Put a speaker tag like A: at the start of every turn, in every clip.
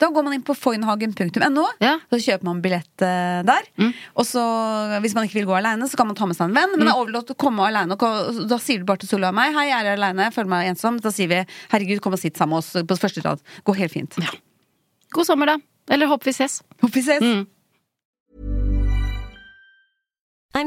A: Da går man inn på foynhagen.no,
B: Ja. Mm.
A: så kjøper man billett eh, der. Og så, hvis man ikke vil gå aleine, så kan man ta med seg en venn. Men
B: Mm.
A: det er overlatt å komme aleine. Da sier du bare til Solveig og meg 'Hei, jeg er aleine, føler meg ensom'. Da sier vi 'Herregud, kom og sitt sammen med oss på første rad'. Går helt fint.
B: God sommer, da. Eller håper vi ses.
A: Håper vi ses.
B: Mm.
C: I'm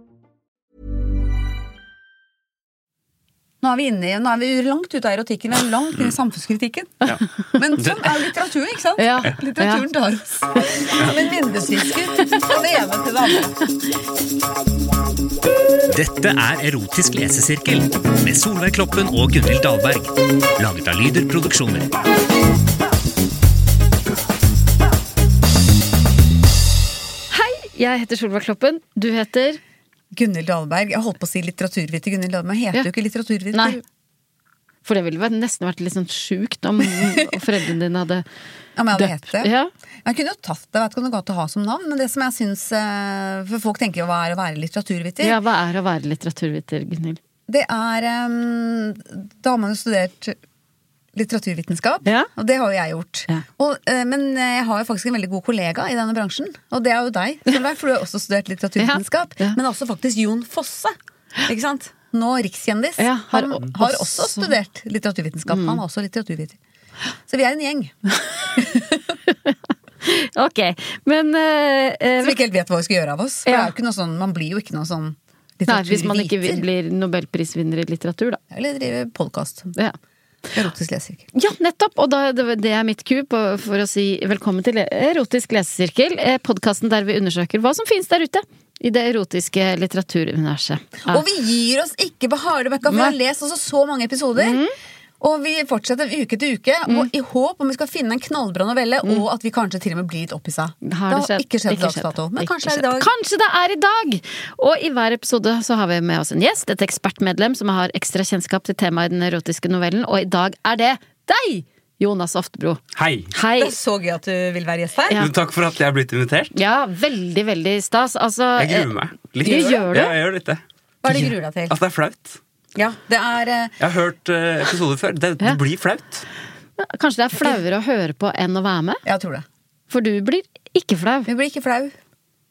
A: Nå er vi inne i, nå er vi langt ute av erotikken, vi er langt inn i samfunnskritikken. Men sånn er litteraturen, ikke sant?
B: Mm. Ja.
A: Litteraturen tar oss som en vindusvisker fra det ene til det andre.
D: Dette er Erotisk lesesirkel med Solveig Kloppen og Gunhild Dahlberg. Laget av Lyder Produksjoner.
B: Hei, jeg heter Solveig Kloppen. Du heter
A: Gunhild Dahlberg. Jeg holdt på å si litteraturviter. Gunhild Dahlberg heter
B: Ja.
A: jo ikke litteraturviter.
B: Nei. For det ville vel nesten vært litt sånn sjukt om foreldrene dine hadde
A: Ja, men jeg hadde hett det.
B: Ja.
A: Jeg kunne jo tatt det, jeg vet ikke om det er godt å ha som navn, men det som jeg syns eh, For folk tenker jo hva er å være litteraturviter?
B: ja, hva er å være litteraturviter, Gunhild?
A: Det er em, Da har man jo studert litteraturvitenskap,
B: Ja.
A: og det har jo jeg gjort.
B: Ja.
A: Og, eh, men jeg har jo faktisk en veldig god kollega i denne bransjen, og det er jo deg, Solveig, for du har også studert litteraturvitenskap.
B: Ja. Ja.
A: Men også faktisk Jon Fosse. Ikke sant? Nå rikskjendis.
B: Ja, har
A: har, han
B: også- Mm.
A: har også studert litteraturvitenskap. Han er også litteraturviter. Så vi er en gjeng
B: Ok, men eh, eh,
A: som ikke helt vet hva vi skal gjøre av oss. For
B: Ja.
A: det er jo ikke noe sånn, Man blir jo ikke noe sånn
B: nei, Hvis man ikke
A: litteraturviter.
B: blir nobelprisvinner i litteratur, da.
A: Eller drive podkast.
B: Ja.
A: Erotisk lesesirkel.
B: Ja, nettopp! Og da, det det er mitt ku på- for å si velkommen til Erotisk lesesirkel. Podkasten der vi undersøker hva som finnes der ute i det erotiske litteraturuniverset. Ja.
A: Og vi gir oss ikke på harde møkka, for vi har lest også så mange episoder.
B: Mhm.
A: Og vi fortsetter uke til uke og i håp om vi skal finne en knallbra novelle, og at vi kanskje til og med blir litt opphissa. Det
B: Mhm. Har det skjedd?
A: ikke skjedd til dags
B: skjedd.
A: dato, men
B: Ikke
A: kanskje det
B: skjedd.
A: er i dag.
B: Kanskje det er i dag! Og i hver episode så har vi med oss en gjest, et ekspertmedlem som har ekstra kjennskap til temaet i den erotiske novellen, og i dag er det deg! Jonas Oftebro.
E: Hei.
B: Hei!
A: Det er så gøy at du vil være gjest her.
B: Ja.
E: Takk for at jeg er blitt invitert.
B: Ja, veldig, veldig stas. Altså
E: Jeg gruer
B: eh,
E: meg.
B: Du gjør det?
E: Ja, jeg gjør litt det.
A: Hva er det du gruer deg til?
E: Altså, det er flaut.
A: Ja, det er eh,
E: Jeg har hørt eh, episoder før. Det, det
B: Ja.
E: blir flaut.
B: Kanskje det er flauere å høre på enn å være med?
A: Jeg tror det.
B: For du blir ikke flau.
A: Vi blir ikke flau.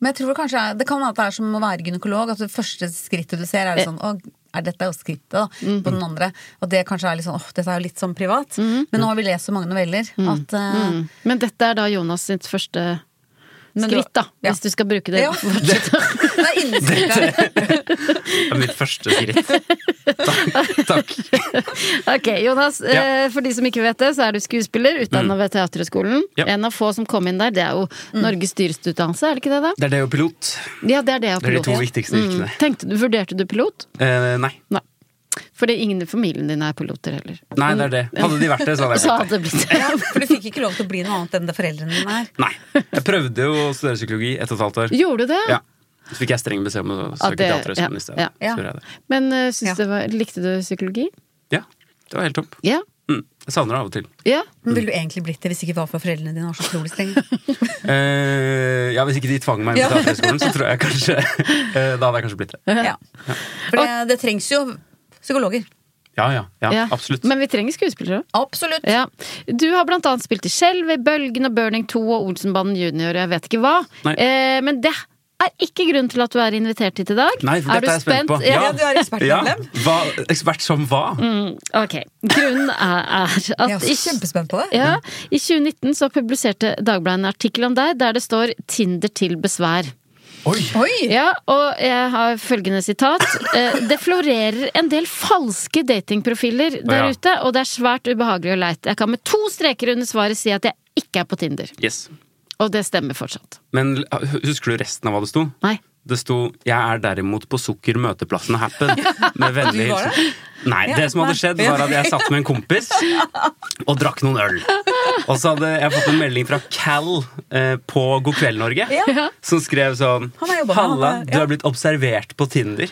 A: Men jeg tror kanskje det er- det kan være at det er som å være gynekolog. At det første skrittet du ser, er litt sånn Å, er dette jo skrittet da,
B: Mm.
A: på den andre. Og det kanskje er litt sånn Åh, dette er jo litt sånn privat.
B: Mm.
A: Men nå har vi lest så mange noveller at eh,
B: Men dette er da Jonas sitt første
A: Men det-
B: skritt, da.
A: ja.
B: Hvis du skal bruke det.
A: Ja. Det er innsiktet.
E: Det er mitt første skritt. Takk. Takk.
B: Ok, Jonas,
E: Ja. Mm.
B: eh, for de som ikke vet det, så er du skuespiller utdanna ved Teaterhøgskolen.
E: Ja. Mm.
B: En av få som kom inn der, det er jo Norges dyreste utdannelse, er det ikke det da?
E: Det er det og pilot.
B: Ja, det er det og
E: Det er de
B: pilot. Mm.
E: to
B: ja.
E: viktigste yrkene.
B: Tenkte du, Vurderte du pilot?
E: Eh, nei.
B: Nei. Fordi ingen i familien din er piloter heller.
E: Nei, det er det. Hadde de vært det, så hadde jeg
B: Så
E: vært
B: hadde det blitt
A: For du fikk ikke lov til å bli noe annet enn det foreldrene dine er.
E: Nei. Jeg prøvde jo å studere psykologi ett og et halvt år.
B: Gjorde du det?
E: Ja. Så fikk jeg streng beskjed om å
B: At
E: søke
B: det-
E: teaterhøgskolen i stedet.
B: ja,
A: ja.
E: Så gjorde jeg det.
B: Men eh, syns
A: Ja.
B: det var, likte du psykologi?
E: Ja, det var helt topp.
B: Ja.
E: Mm. Jeg savner det av og til.
B: ja.
A: Men ville du egentlig blitt det hvis ikke det var for foreldrene dine var så utrolig strenge?
E: Eh, ja, Hvis ikke de tvang meg inn på
A: Ja.
E: teaterhøgskolen, så tror jeg kanskje eh, Da hadde jeg kanskje blitt det.
A: Ja. For det, det trengs jo psykologer.
E: Ja, ja. ja,
B: Ja.
E: Absolutt.
B: Men vi trenger skuespillere.
A: Absolutt.
B: Ja. Du har blant annet spilt i Skjelv, i Bølgen og Burning 2 og Olsenbanden junior og jeg vet ikke hva.
E: Nei.
B: Eh, men det er ikke grunnen til at du er invitert hit i dag.
E: Nei, for
B: er
E: dette er jeg spent på.
B: Ja.
A: Ja, du er ekspertmedlem.
E: Ja. Hva, ekspert som hva?
B: Ok. Grunnen er, er at
A: Jeg
B: i-
A: er også kjempespent på det.
B: ja, I 2019 så publiserte Dagbladet en artikkel om deg der det står 'Tinder til besvær'.
E: Oi!
A: Oi!
B: Ja, og jeg har følgende sitat. Eh, Det florerer en del falske datingprofiler der
E: Å ja.
B: ute, og det er svært ubehagelig og leit. Jeg kan med to streker under svaret si at jeg ikke er på Tinder.
E: Yes.
B: Og det stemmer fortsatt.
E: Men husker du resten av hva det sto?
B: Nei.
E: Det sto 'Jeg er derimot på Sukker møteplassen Happen'. Med vennlig
A: Du var
E: hilsen. Nei,
A: Ja,
E: det som hadde
A: nei.
E: skjedd, var at jeg satt med en kompis og drakk noen øl. Og så hadde jeg fått en melding fra Cal eh, på God kveld, Norge,
A: Ja.
E: som skrev sånn
A: Han har jobbet med
E: Halla,
A: han, ja.
E: du har blitt observert på Tinder.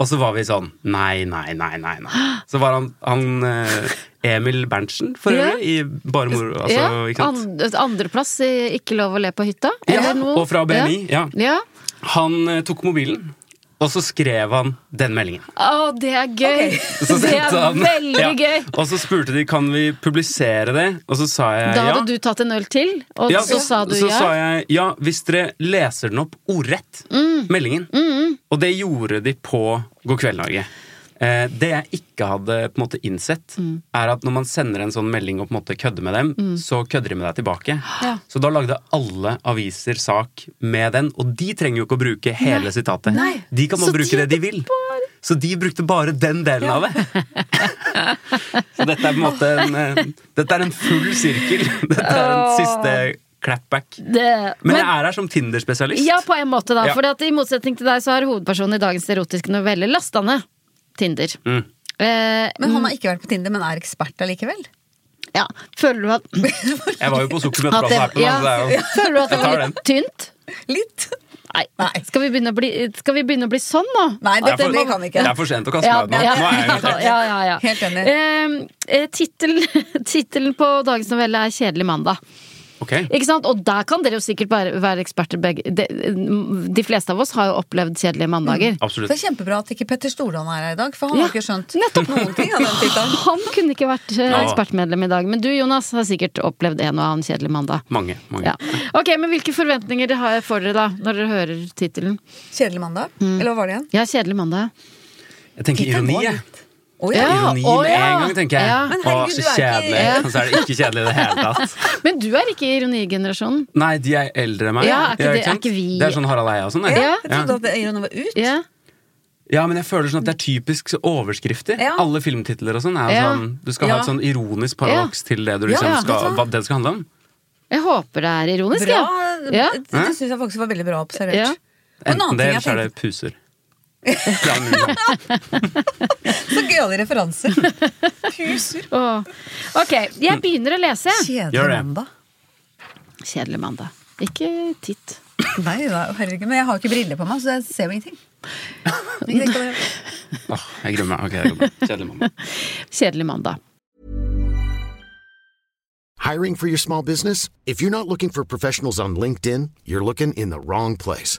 E: Og så var vi sånn Nei, nei, nei, nei. nei. Så var han, han eh, Emil Berntsen, for
B: Ja.
E: øvrig, i Bare moro. Altså,
B: ja,
E: ikke sant?
B: and- Andreplass i Ikke lov å le på hytta?
E: Ja,
B: eller noe?
E: og fra BMI, ja.
B: ja.
E: Han eh, tok mobilen, og så skrev han den meldingen.
B: Å, det er gøy!
E: Så
B: Det er
E: sendte han-
B: veldig
E: Ja.
B: gøy!
E: Og så spurte de kan vi publisere det, og så sa jeg
B: Da
E: ja.
B: hadde du tatt en øl til, og
E: ja,
B: så sa du
E: så
B: ja.
E: sa jeg ja, hvis dere leser den opp ordrett,
B: Mm.
E: meldingen.
B: Mm-hmm.
E: Og det gjorde de på God kveld, Norge. Eh, det jeg ikke hadde på en måte innsett,
B: Mm.
E: er at når man sender en sånn melding og på en måte kødder med dem, så kødder de med deg tilbake. Så da lagde alle aviser sak med den, og de trenger jo ikke å bruke hele sitatet. De kan
B: Så
E: bare
B: de
E: bruke det de
B: hadde
E: vil. Så de brukte bare den delen av det. Så dette er på en måte en, eh, dette er en full sirkel. Dette er en siste clapback.
B: Det-
E: Men jeg er her som Tinder-spesialist.
B: Ja, på en måte, da.
E: Ja.
B: For i motsetning til deg, så har hovedpersonen i dagens erotiske novelle lasta ned Tinder.
E: Mm.
B: Eh,
A: Men han har ikke vært på Tinder, men er ekspert allikevel.
B: ja. Føler du at,
E: Jeg var jo på
B: at
E: sukkermøteplassen
B: det,
E: her. på
B: ja,
E: den, så det er jo-
B: Føler du at det
E: Jeg tar
B: var litt tynt?
A: Litt.
B: Nei.
A: Nei.
B: Skal, vi begynne å bli, skal vi begynne å bli sånn, nå?
A: Nei,
E: Det
A: det,
E: er
A: det,
E: for-
A: det kan vi ikke.
E: Det er for sent å kaste
B: Ja,
E: meg ut nå.
B: ja.
E: Nå er jeg invitert.
B: ja, ja, ja.
A: Helt enig.
B: Eh, eh, tittel- Tittelen på dagens novelle er 'Kjedelig mandag'.
E: Ok.
B: Ikke sant? Og der kan dere jo sikkert være, være eksperter begge. De, de fleste av oss har jo opplevd kjedelige mandager.
E: Absolutt.
A: Det er kjempebra at ikke Petter Stordalen er her i dag, for han
B: Ja,
A: har ikke skjønt noen ting av den tittelen.
B: Han kunne ikke vært eh,
E: Ja.
B: ekspertmedlem i dag, men du Jonas har sikkert opplevd en og annen kjedelig mandag.
E: Mange. mange.
B: Ja. Ok, men Hvilke forventninger har- får dere da, når dere hører tittelen?
A: Kjedelig mandag.
B: Mm.
A: Eller hva var det igjen?
B: Ja, kjedelig mandag.
E: Jeg tenker
A: Tittelen
E: ironi.
A: var
E: jeg.
A: litt- Å ja.
B: Ja.
E: Ironi
B: å
E: med en gang, tenker jeg.
B: Ja.
A: Men
E: Å,
A: herregud,
E: så
A: du er ikke-
E: kjedelig.
B: Ja.
E: Og så er det ikke kjedelig i det hele tatt.
B: Men du er ikke i ironigenerasjonen.
E: Nei, de er eldre enn meg.
B: Ja, er ikke det- er
E: sant?
B: ikke vi-
E: det er sånn Harald Eia og sånn. det.
A: Ja,
B: Ja.
A: Jeg trodde at ironi var ut.
B: Ja.
E: Ja, men jeg føler sånn at det er typisk så- overskrifter.
A: Ja.
E: Alle filmtitler og sånn er
B: Ja.
E: sånn Du skal ha et
A: Ja.
E: sånn ironisk paradoks til det du liksom
B: Ja, ja,
E: skal,
A: vet du hva?
E: hva det skal handle om.
B: Jeg håper det er ironisk,
A: Bra.
B: ja.
A: Det,
B: ja.
A: det syns jeg faktisk var veldig bra observert.
B: Ja.
A: Og en
E: Enten
A: annen
E: det,
A: ting
E: eller
A: jeg
E: så er
A: tenkte
E: det puser. Ja, men, ja.
A: Så gøyale referanser. Puser.
B: Åh. Ok, jeg begynner å lese. jeg.
E: Gjør
A: Kjedelig
E: det.
A: mandag.
B: Kjedelig mandag. Ikke titt.
A: Nei da, herregud. Men jeg har jo ikke briller på meg, så jeg ser jo ingenting. Men det kan jeg-
E: Åh, jeg gruer meg. Ok, det går bra. Kjedelig mamma.
B: Kjedelig mandag.
F: Hiring for your small business? If you're not looking for professionals on LinkedIn, you're looking in the wrong place.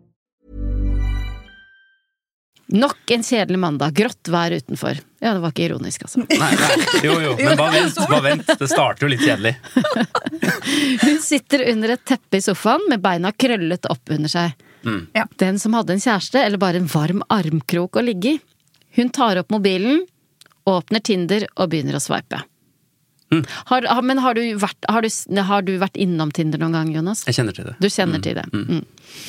B: Nok en kjedelig mandag. Grått vær utenfor. Ja, det var ikke ironisk, altså.
E: Nei, nei. Jo, jo, men bare vent. Bare vent. Det starter jo litt kjedelig.
B: Hun sitter under et teppe i sofaen med beina krøllet opp under seg.
A: Ja.
B: Den som hadde en kjæreste, eller bare en varm armkrok å ligge i. Hun tar opp mobilen, åpner Tinder og begynner å sveipe. Har, har- men har du, vært, har, du, har du vært innom Tinder noen gang, Jonas?
E: Jeg kjenner til det.
B: Du kjenner til det. Mm.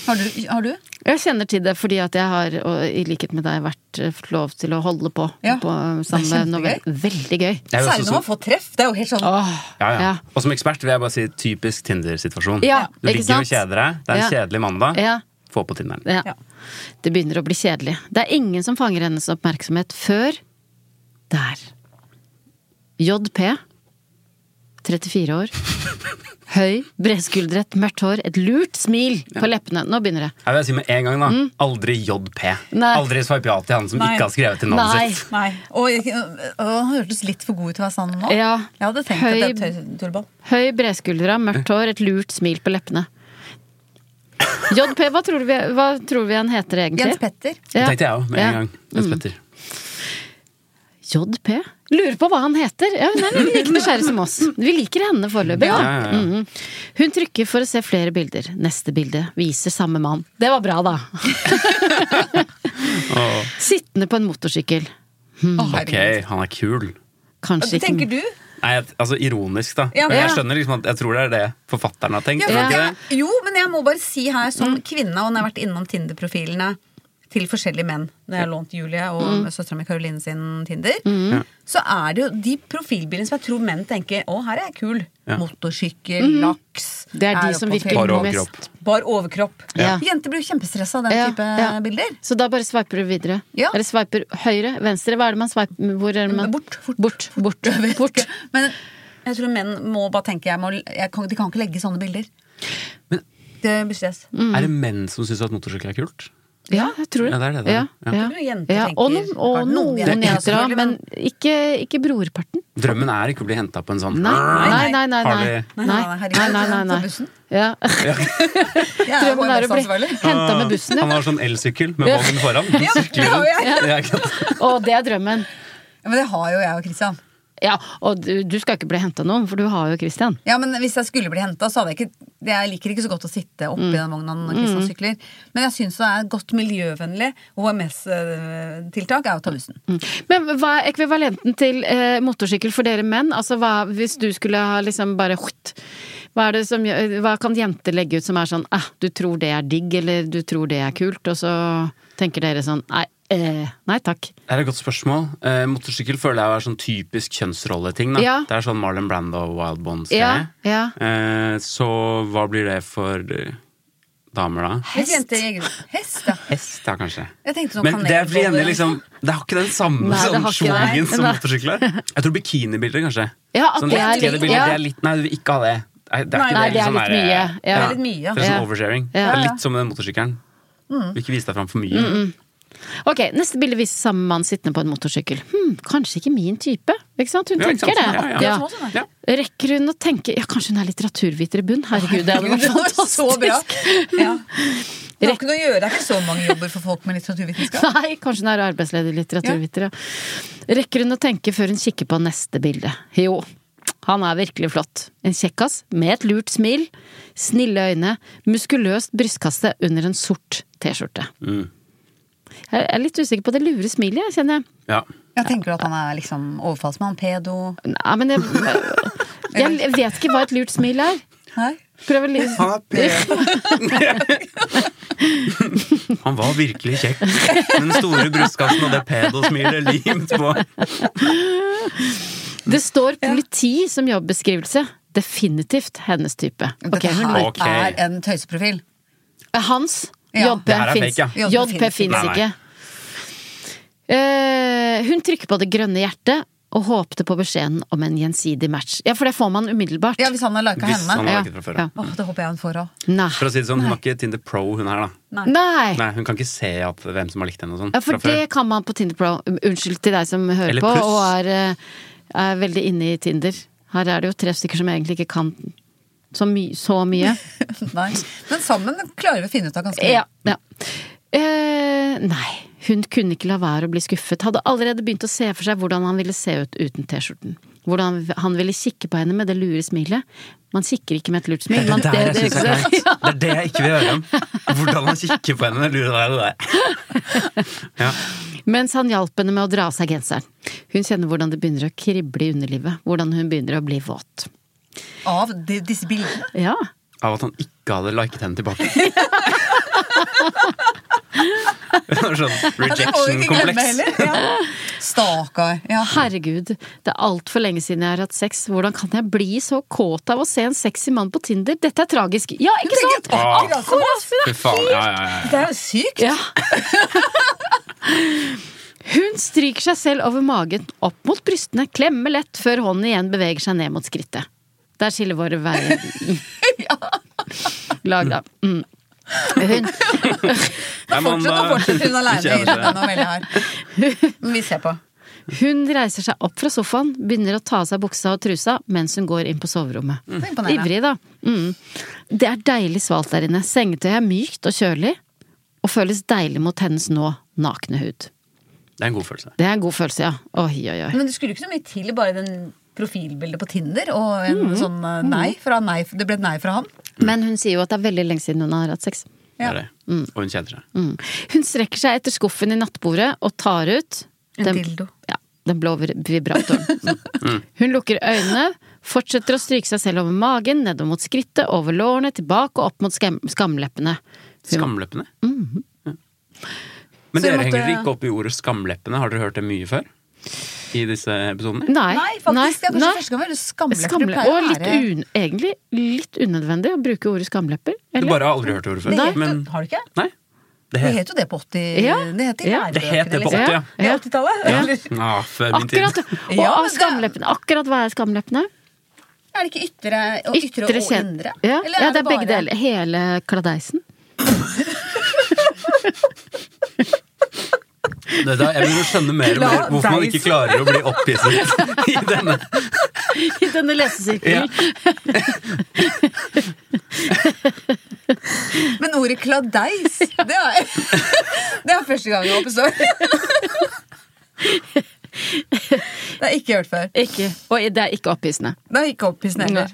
A: Har du? Har du?
B: Jeg kjenner til det fordi at jeg har, og i likhet med deg, vært eh, fått lov til å holde på
A: Ja.
B: på samme
A: Det er kjempegøy.
B: novelle. Veldig gøy.
E: Jeg er
A: Særlig
E: jo også
A: når man
E: som,
A: får treff. Det er jo helt sånn
E: ja, ja.
B: Ja.
E: Og som ekspert vil jeg bare si typisk Tinder-situasjon.
B: Ja,
E: Du
B: ikke
E: ligger og
B: sant?
E: kjeder deg. Det er en
B: Ja.
E: kjedelig mandag.
B: Ja.
E: Få på Tinderen.
B: Ja.
A: Ja.
B: Det begynner å bli kjedelig. Det er ingen som fanger hennes oppmerksomhet før der. JP, 34 år. Høy, bredskuldret, mørkt hår, et lurt smil på leppene. Nå begynner det.
E: Jeg vil si med en gang da Aldri JP.
B: Nei.
E: Aldri swipe ja til han som
A: Nei.
E: ikke har skrevet til
B: Nei.
E: navnet sitt.
A: Nei. Og, og han hørtes litt for god ut til å være sann nå.
B: Ja.
A: Jeg hadde tenkt
B: Høy-
A: at det er tøy- tullball.
B: Høy, bredskuldra, mørkt hår, et lurt smil på leppene. JP, hva tror vi, hva tror vi han heter
A: Jens
B: egentlig?
A: Petter.
E: Det
B: Ja.
E: tenkte jeg òg med
B: Ja. Mm.
E: en gang. Jens Petter.
B: JP? Lurer på hva han heter. Ja, hun er like nysgjerrig som oss. Vi liker henne foreløpig. da.
E: Ja, ja, ja.
B: Mhm. Hun trykker for å se flere bilder. Neste bilde viser samme mann. Det var bra, da! Sittende på en motorsykkel.
A: Å,
E: Ok,
A: herregud.
E: han er kul.
B: Kanskje ikke
A: Tenker du?
E: Nei, jeg- altså Ironisk, da.
A: Ja.
E: Men Jeg
B: Ja.
E: skjønner liksom at jeg tror det er det forfatteren har tenkt.
A: Ja,
E: tror du
A: for
E: ikke
A: det,
E: det?
A: jo, men jeg må bare si her som
B: Mm.
A: kvinne, og når jeg har vært innom Tinder-profilene til forskjellige menn, når jeg har lånt Julie og mm. søstera mi Caroline sin Tinder,
B: Mm.
A: så er det jo de profilbildene som jeg tror menn tenker å, her er jeg kul. Motorsykkel, laks
B: Mm. Det er de
A: oppe
B: som
A: på
B: virker
E: Bare
A: fjellet.
E: overkropp.
B: mest
A: Bar overkropp.
B: Ja.
A: Jenter blir jo kjempestressa av den
B: Ja,
A: type
B: ja.
A: bilder.
B: Så da bare sveiper du videre?
A: Ja.
B: Eller sveiper høyre? Venstre? Hva er det man sveiper Hvor er det man
A: Bort, fort,
B: Bort. Bort.
A: Jeg vet
B: bort.
A: ikke. Men jeg tror menn må bare tenke jeg må, jeg kan, De kan ikke legge sånne bilder.
E: Men-
A: det blir stress.
B: Mm.
E: Er det menn som syns at motorsykkel er kult?
B: Ja, jeg tror det.
E: Ja, det er det det er. Ja.
B: Ja.
A: Det tror jeg jenter
B: Ja, Og noen,
A: tenker.
B: og noen
A: Noen
B: jenter,
A: jenter,
B: da,
A: selvfølgelig,
B: men
A: men-
B: ikke, ikke brorparten.
E: Drømmen er ikke å bli henta på en sånn
B: Nei, nei, nei. nei,
E: Har
B: nei.
E: de-
B: Nei, nei,
A: Nei, nei,
B: nei,
A: herregud,
B: nei, nei,
A: på bussen.
B: Ja.
A: Jeg er
B: Drømmen er å bli
A: HMS-ansvarlig.
B: henta med bussen,
E: Han
B: ja.
E: har sånn elsykkel med vogn foran.
A: Ja, det har jo jeg.
E: Ja, ikke sant?
B: Og det er drømmen.
A: Ja, men det har jo jeg og Christian.
B: Ja, og du, du skal ikke bli henta noen, for du har jo Christian.
A: Ja, men Hvis jeg skulle bli henta, så hadde jeg ikke Jeg liker ikke så godt å sitte
B: Mm.
A: oppi den vogna når Christian sykler. Men jeg syns det er godt miljøvennlig HMS-tiltak er å ta bussen.
B: Men hva er ekvivalenten til eh, motorsykkel for dere menn? Altså hva, hvis du skulle ha liksom bare hva, er det som, gjør- hva kan jenter legge ut som er sånn eh, du tror det er digg, eller du tror det er kult, og så tenker dere sånn nei, eh, nei takk.
E: Det er et godt spørsmål. Eh, motorsykkel føler jeg er sånn typisk kjønnsrolleting. da.
B: Ja.
E: Det er sånn Marlon Brando og Wild Bonds.
B: Ja, ja.
E: Eh, så hva blir det for eh, damer, da?
A: Hest? Jenter, i egen- hest, ja.
E: Hest, ja, kanskje.
A: Jeg tenkte sånn
E: Men det
A: kanelboller.
E: blir enig, liksom Det har ikke den samme
B: Nei, det
E: sånn
B: har ikke det.
E: schwungen som
B: Nei.
E: motorsykler. Jeg tror bikinibilder, kanskje.
B: Ja, at
E: sånn
B: det er
E: lettkledd
B: litt-
E: bilder,
B: ja.
E: det er litt Nei, du vil ikke ha det. Nei, det er, ikke
B: Nei, det er
E: Sånn
B: litt
E: der,
B: mye. Ja.
A: Det er litt mye, ja.
E: Det er
B: Ja. Mm.
E: sånn oversharing.
B: Ja.
E: Det er litt som med den motorsykkelen. Vil ikke vise deg fram for mye.
B: Ok, Neste bilde viser samme mann sittende på en motorsykkel. Hm, kanskje ikke min type? Ikke sant? Hun
E: Ja, ikke
B: tenker
E: sant?
B: det.
E: Ja, ja.
A: Akkurat som oss,
E: Ja.
B: Rekker hun å tenke Ja, kanskje hun er litteraturviter i bunn? Herregud, det hadde vært
A: Det var så bra.
B: fantastisk!
A: Ja. Det har ikke noe å gjøre. Det er ikke så mange jobber for folk med litteraturvitenskap.
B: Nei, kanskje hun er arbeidsledig litteraturviter, ja. Rekker hun å tenke før hun kikker på neste bilde? Jo, han er virkelig flott. En kjekkas med et lurt smil, snille øyne, muskuløst brystkasse under en sort T-skjorte. Jeg er litt usikker på det lure smilet, jeg, kjenner jeg.
E: Ja.
A: Jeg tenker at han er liksom overfallsmann, pedo
B: Nei, men jeg, jeg vet ikke hva et lurt smil er.
A: Nei?
B: Prøv å li-
E: Han er pen. Han var virkelig kjekk. Den store brystkassen og det pedosmilet limt på.
B: Det står politi som jobbeskrivelse. Definitivt hennes type. Ok,
A: Dette
B: hun
A: her
E: Ok.
A: er en tøyseprofil.
B: Hans.
A: Ja.
B: JP
E: Det her er
B: fins
E: fake,
A: ja.
B: JP
A: JP
B: fins
E: Nei, nei.
B: ikke. Eh, hun trykker på det grønne hjertet, og håpte på beskjeden om en gjensidig match. Ja, for det får man umiddelbart.
A: Ja, hvis han har lika
E: Hvis han
A: henne.
E: har
B: Ja,
E: liket fra før.
B: ja.
A: Åh, det håper jeg hun får òg.
B: Nei.
E: For å si det sånn, hun var ikke Tinder Pro, hun her, da.
A: Nei.
B: Nei.
E: Nei, Hun kan ikke se at hvem som har likt henne og sånn.
B: Ja, for
E: fra før.
B: det kan man på Tinder Pro. um, Unnskyld til deg som hører
E: Eller
B: på
E: pluss.
B: og er, eh, er veldig inne i Tinder. Her er det jo tre stykker som egentlig ikke kan så, my så mye.
A: Nei. Men sammen klarer vi å finne ut av ganske mye.
B: Ja. ja. Eh, nei, hun kunne ikke la være å bli skuffet. Hadde allerede begynt å se for seg hvordan han ville se ut uten T-skjorten. Hvordan han ville kikke på henne med det lure smilet. Man kikker ikke med et lurt smil.
E: Det
B: Man,
E: er det der jeg synes er
B: det-
E: kleint. Det er det jeg ikke vil høre om. Hvordan han kikker på henne. Lurer deg det der. Ja.
B: Mens han hjalp henne med å dra av seg genseren. Hun kjenner hvordan det begynner å krible i underlivet. Hvordan hun begynner å bli våt.
A: Av de, disse bildene.
B: Ja.
E: Av at han ikke hadde liket henne tilbake. Det var sånn
A: Ja, det må vi ikke glemme
E: rejection-kompleks.
A: heller. Ja. Stakkar. Ja.
B: Herregud, det er altfor lenge siden jeg har hatt sex. Hvordan kan jeg bli så kåt av å se en sexy mann på Tinder? Dette er tragisk. Ja, ikke sant?
A: Tenker akkurat som oss.
E: Fy faen. Ja, ja, ja.
A: Det er jo sykt!
B: Ja. Hun stryker seg selv over magen, opp mot brystene, klemmer lett før hånden igjen beveger seg ned mot skrittet. Der skiller våre veier. Lag, da. Mm. Hun,
E: Nei, men
A: Fortsett å
E: da-
A: fortsette hun
E: Ikke
A: aleine i
E: jeg, men-
A: denne novella her. Men vi ser på.
B: hun reiser seg opp fra sofaen, begynner å ta av seg buksa og trusa mens hun går inn på soverommet.
A: Det er imponerende.
B: Ivrig, da. Mm. Det er deilig svalt der inne. Sengetøyet er mykt og kjølig, og føles deilig mot hennes nå nakne hud.
E: Det er en god følelse.
B: Det er en god følelse, ja. Oi, oi, oi.
A: Men det skulle ikke så mye til bare den profilbildet på Tinder og en sånn eh, nei, fra nei. Det ble et nei fra han.
B: Men hun sier jo at det er veldig lenge siden hun har hatt sex.
E: Det
A: Ja.
E: er det. Og hun kjeder seg.
B: Mm. Hun strekker seg etter skuffen i nattbordet og tar ut
A: En dildo.
B: Ja, den blå vibr- vibratoren. Mm. Hun lukker øynene, fortsetter å stryke seg selv over magen, nedover mot skrittet, over lårene, tilbake og opp mot skam skamleppene. Hun,
E: Skamleppene. Ja. Men
A: Mhm. Så vi
E: dere
A: måtte-
E: henger dere ikke opp i ordet skamleppene. Har dere hørt det mye før? I disse episodene?
B: nei,
A: Nei, faktisk. det er kanskje første gang veldig skamløst.
B: Skamle og litt un, egentlig litt unødvendig å bruke ordet skamlepper.
E: Du
B: Eller?
E: bare har aldri hørt ordet før?
A: Det het,
E: Men
A: Har du ikke?
E: nei.
A: Det
E: Det het
A: het jo det på 80...
B: Ja.
A: Det het i
B: Ja.
A: lærebøkene,
E: Det het det på
A: liksom.
E: 80, ja.
A: I 80-tallet?
E: ja.
A: Eller
E: ah, før min tid.
B: Akkurat, og
A: Ja,
B: av
A: men det-
B: skamleppene. Akkurat hva er skamleppene?
A: er det ikke ytre og, ytre og
B: kjed-
A: indre?
B: Ja,
A: Eller
B: ja, det er
A: bare-
B: begge deler. Hele kladeisen.
E: Det der, jeg begynner å skjønne mer og mer hvorfor man ikke klarer å bli opphisset i denne.
B: I denne lesesirkelen.
A: Men ordet kladeis, det er, det er første gang jeg oppstår. Det har jeg ikke hørt før.
B: Ikke, og det er ikke opphissende.
A: Det er ikke opphissende heller.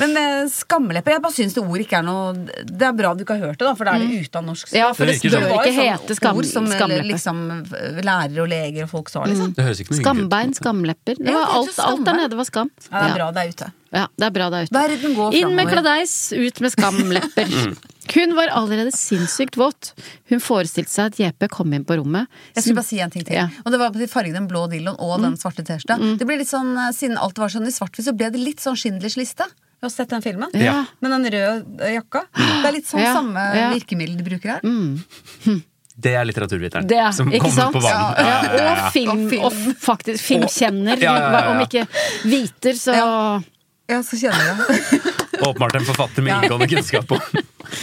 A: Men eh, skamlepper Jeg bare syns det ordet ikke er noe Det er bra du ikke har hørt det, da, for da er det ute av norsk språk.
B: Mm. Ja, for det,
E: Det virker
B: bør jo
E: sånn.
A: var
B: ikke
A: et sånt
B: hete skam,
A: ord som eh,
B: skamleppe. Mm.
A: liksom eh, lærere og leger og folk sa, liksom.
E: Det høres ikke noe hyggelig ut.
B: Skambein, skamlepper. Det
A: Ja,
B: var
A: det er
B: alt,
A: så
B: alt der
A: skambein.
B: nede var skam.
A: Ja, det er
B: Ja.
A: bra det er ute.
B: Ja, det er bra det er ute.
A: Verden går
B: Inn med
A: framover.
B: kladeis, ut med skamlepper. Mm. Hun var allerede sinnssykt våt. Hun forestilte seg at JP kom inn på rommet.
A: Jeg skulle bare si en ting til.
B: Ja. Mm.
A: Og det var på de fargen den blå dildoen og den svarte T-skjorta. Det ble litt sånn, eh, Siden alt var sånn i svart-hvitt, så ble det litt sånn Schindlers liste. Vi har sett den filmen.
B: Ja.
A: Men den røde eh, jakka. Det er litt sånn
B: Ja,
A: samme
B: ja. Mm.
A: virkemiddel de bruker her.
E: Det er litteraturviteren
B: Det,
E: som
B: ikke
E: kommer
B: sant?
E: på banen.
B: Ja, og film,
A: Og film.
B: og f- faktisk filmkjenner.
E: Ja, ja, ja, ja.
B: Om ikke viter, så
A: Ja. Ja, så kjenner jeg det.
E: Åpenbart en forfatter med inngående kunnskap om.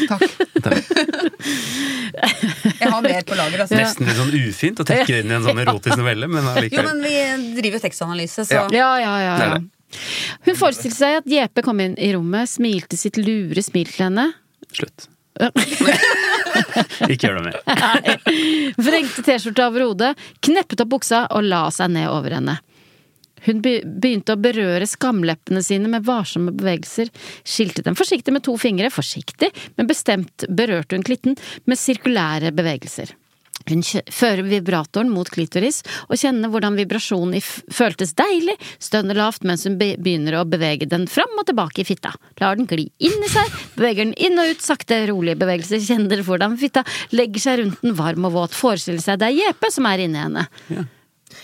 A: Takk. Jeg har mer på lager, altså.
E: Nesten litt sånn ufint å trekke det inn i en sånn erotisk novelle, men
A: Jo,
E: allikevel.
A: men vi driver jo tekstanalyse, så
B: Ja, ja, ja.
E: Det
B: ja.
E: er det.
B: Hun forestilte seg at JP kom inn i rommet, smilte sitt lure smil til henne.
E: Slutt. Ikke gjør det mer.
B: Vrengte T-skjorta over hodet, kneppet opp buksa og la seg ned over henne. Hun be- begynte å berøre skamleppene sine med varsomme bevegelser, skilte dem forsiktig med to fingre, forsiktig, men bestemt berørte hun klitten med sirkulære bevegelser. Hun kjø- fører vibratoren mot klitoris og kjenner hvordan vibrasjonen i f føltes deilig, stønner lavt mens hun be begynner å bevege den fram og tilbake i fitta. Lar den gli inn i seg, beveger den inn og ut, sakte, rolige bevegelser, kjenner hvordan fitta legger seg rundt den, varm og våt, forestiller seg det er Jeppe som er inni henne.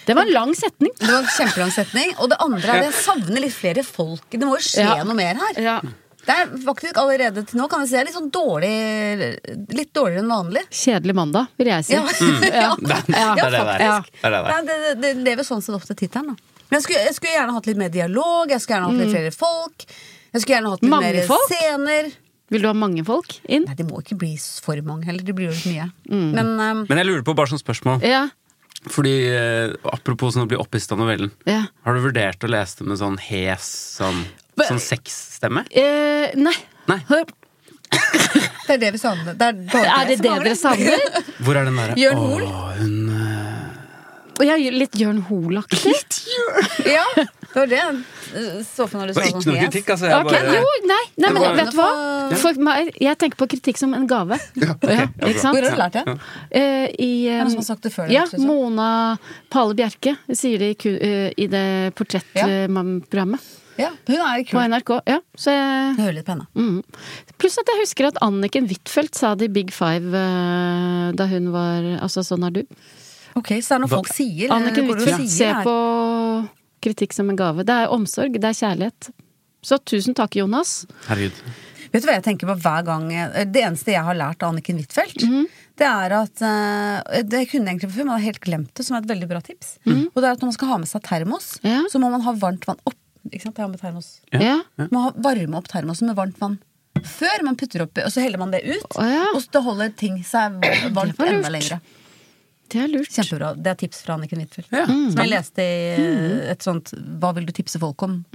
B: Det var en lang setning.
A: Det var en kjempelang setning. Og det andre er at jeg savner litt flere folk. Det må jo skje
B: Ja.
A: noe mer her.
B: Ja.
A: Det er faktisk allerede til nå kan jeg si det er litt sånn dårlig Litt dårligere enn vanlig.
B: Kjedelig mandag, vil jeg si.
A: Ja, Mm. ja.
E: Det er det der.
A: Ja,
E: Det er det der.
A: Nei, det, det, det lever sånn sett opp til tittelen, da. Men jeg skulle, jeg skulle gjerne hatt litt mer dialog, jeg skulle gjerne hatt litt flere folk. Jeg skulle gjerne hatt litt
B: Mm. Mange
A: mer
B: folk?
A: scener.
B: Vil du ha mange folk inn?
A: Nei, det må ikke bli for mange heller. Det blir jo litt mye.
B: Mm.
A: Men ehm,
E: Men jeg lurer på bare sånn spørsmål.
B: Ja.
E: Fordi eh, Apropos sånn å bli opphisset av novellen.
B: ja.
E: Har du vurdert å lese det med sånn hes sånn,
B: Hva-
E: sånn sexstemme?
B: Eh, nei.
E: Nei.
B: Hør,
A: det er det vi savner. Det er, bare
B: er det
A: som
B: det
A: mangler.
B: dere savner?
E: Hvor er den derre
A: Jørn Hoel?
E: Åh, hun eh,
B: Og jeg er litt Jørn Hoel-aktig.
A: ja, det var det jeg eh, så for når du
E: Det
A: sa
E: var
A: sånn
E: ikke noe
A: yes.
E: kritikk, altså. Jeg
B: Ok,
E: bare,
B: Jo, nei, nei men
E: var-
B: vet du hva? For meg, jeg tenker på kritikk som en gave. Ja, ikke
A: Hvor
B: sant?
A: har du lært det?
B: Eh, I eh,
A: noen som har sagt det før,
B: Ja,
A: synes jeg.
B: Mona Pale Bjerke sier det i, ku- eh, i det
A: Ja.
B: portrettprogrammet
A: Ja, hun er
B: på
A: kul.
B: NRK. Ja, så jeg
A: Hun hører litt på henne.
B: Mm. Pluss at jeg husker at Anniken Huitfeldt sa det i Big Five eh, da hun var Altså, sånn er du.
A: Ok, Så det er noe folk sier. eller
B: Anniken
A: hvor Eh, du
B: Huitfeldt ser
A: sier her.
B: på kritikk som en gave. Det er omsorg, det er kjærlighet. Så tusen takk, Jonas.
E: Herregud.
A: Vet du hva jeg tenker på hver gang eh, Det eneste jeg har lært av Anniken Huitfeldt,
B: Mhm.
A: det er at eh, Det kunne jeg egentlig på før, men jeg har helt glemt det, som er et veldig bra tips. Og det er at når man skal ha med seg termos,
B: Mhm. Ja.
A: så må man ha varmt vann opp. Ikke sant? Jeg har med termos.
B: Ja.
A: Man må ha- varme opp termosen med varmt vann før man putter oppi, og så heller man det ut.
B: Å, ja.
A: Og så holder ting seg varmt
B: Det var lurt.
A: enda lenger.
B: Det er lurt.
A: Kjempebra. Det er tips fra Anniken Huitfeldt. Som
B: Mm.
A: jeg leste i eh, et sånt 'Hva vil du tipse folk om?'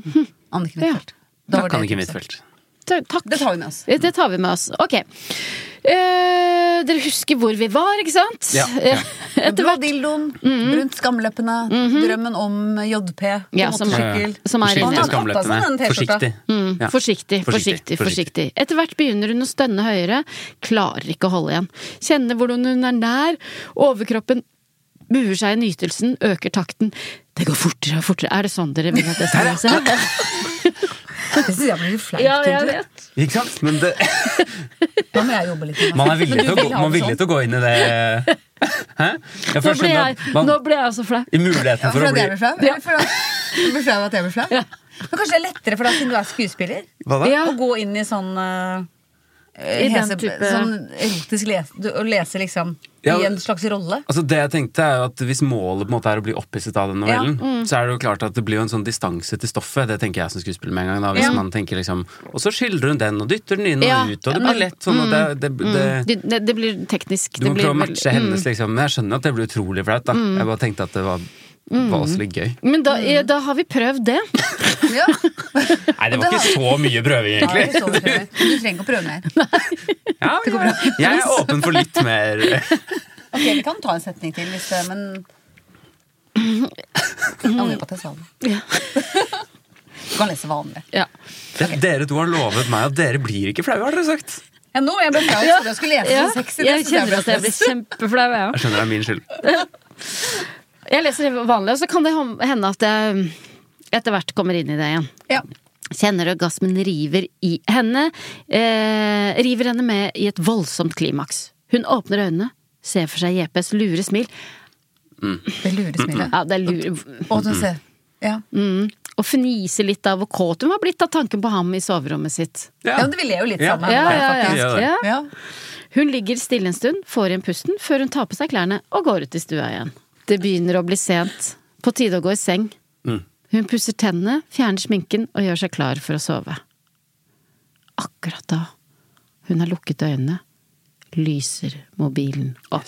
A: Anniken
B: Ja.
A: Huitfeldt. Da var
E: Takk,
A: det
E: Anniken
A: tipset.
E: Huitfeldt.
B: Ta- Takk. Eh,
A: Det tar vi med oss.
B: Det tar vi med oss. Ok. Eh, dere husker hvor vi var, ikke sant?
E: Ja.
B: Eh, Etter
A: Blå
B: hvert. Mhm.
A: dildoen, brunt skamleppene, drømmen om JP,
B: Ja, som-
A: motorsykkel.
B: Som er
E: Forsiktig
A: inne.
E: med skamleppene.
A: Han har tatt av seg den
E: Forsiktig. Ja.
B: Mm, Forsiktig, forsiktig, forsiktig. Etter hvert begynner hun å stønne høyere. Klarer ikke å holde igjen. Kjenner hvordan hun er nær. Overkroppen buer seg i nytelsen, øker takten. Det går fortere og fortere. Er det sånn dere vil at jeg skal lese?
A: Det synes jeg blir litt flaut, egentlig.
B: vet.
E: Ikke sant? Men det,
A: Da må jeg jobbe litt. med meg.
E: man er
A: Men du
E: villig til å
A: vil
E: gå,
A: ha
E: man er
A: det
E: villig
A: sånn.
E: til å gå inn i det Hæ? Jeg
B: Nå
E: først
B: ble
E: skjønner
B: jeg,
E: at man,
B: nå ble jeg så flau.
E: I muligheten for
A: For
E: å
A: at
E: bli
A: jeg blir flau? Eller for at du blir flau av at jeg blir flau? Men kanskje det er lettere for deg, siden du er skuespiller,
E: Hva da?
B: Ja.
A: å gå inn i sånn eh,
B: I den
A: hese-
B: type-
A: Sånn erotisk les, du- Å lese, liksom,
E: Ja,
A: i
E: men-
A: en slags rolle.
E: Altså det jeg tenkte er jo at Hvis målet på en måte er å bli opphisset av den novellen,
B: Mm.
E: så er det jo klart at det blir jo en sånn distanse til stoffet. Det tenker jeg som skuespiller med en gang. Da, hvis
A: Ja.
E: man tenker liksom Og så skildrer hun den og dytter den inn og
B: Ja. Mm.
E: ut, og det blir lett sånn. Og det, det, det,
B: Det, det, det blir teknisk.
E: du
B: det
E: må
B: blir
E: prøve å
B: veldig-
E: matche hennes, liksom. Men jeg skjønner at det blir utrolig flaut. da Jeg bare tenkte at det var, var også litt gøy.
B: Men da, eh, da har vi prøvd det.
A: Ja.
E: Nei, det var ikke så mye prøving,
A: Ja, det
E: egentlig.
A: er så utrolig. du trenger ikke å prøve mer.
E: Ja, det går bra. Jeg er åpen for litt mer
A: Ok, Vi kan ta en setning til, hvis det, men Jeg Angrer på at jeg sa det. Du kan lese vanlig.
B: Ja.
E: Dere to har lovet meg at dere blir ikke flaue, har dere sagt.
A: Ja, nå jeg ble flau. Jeg trodde jeg skulle lese
B: Ja,
A: om sex. i det,
B: jeg
A: så
B: kjenner at jeg blir
A: stress.
B: kjempeflau, jeg òg.
E: Jeg skjønner det er min skyld.
B: Jeg leser det vanlig, og så kan det hom- hende at jeg etter hvert kommer inn i det igjen.
A: Ja.
B: Kjenner orgasmen river i henne. Eh, river henne med i et voldsomt klimaks. Hun åpner øynene, ser for seg JPs lure smil.
A: Det lurer smilet.
B: Ja, det er lure.
A: Og du ser. Ja.
B: Mm. Og fniser litt av hvor kåt hun var blitt av tanken på ham i soverommet sitt.
A: ja, men vi ler jo litt
E: Ja.
A: sammen.
B: Ja, ja,
A: faktisk.
B: ja. ja.
A: Ja.
B: Hun ligger stille en stund, får igjen pusten, før hun tar på seg klærne og går ut i stua igjen. Det begynner å bli sent. På tide å gå i seng. Hun pusser tennene, fjerner sminken og gjør seg klar for å sove. Akkurat da hun har lukket øynene, lyser mobilen opp.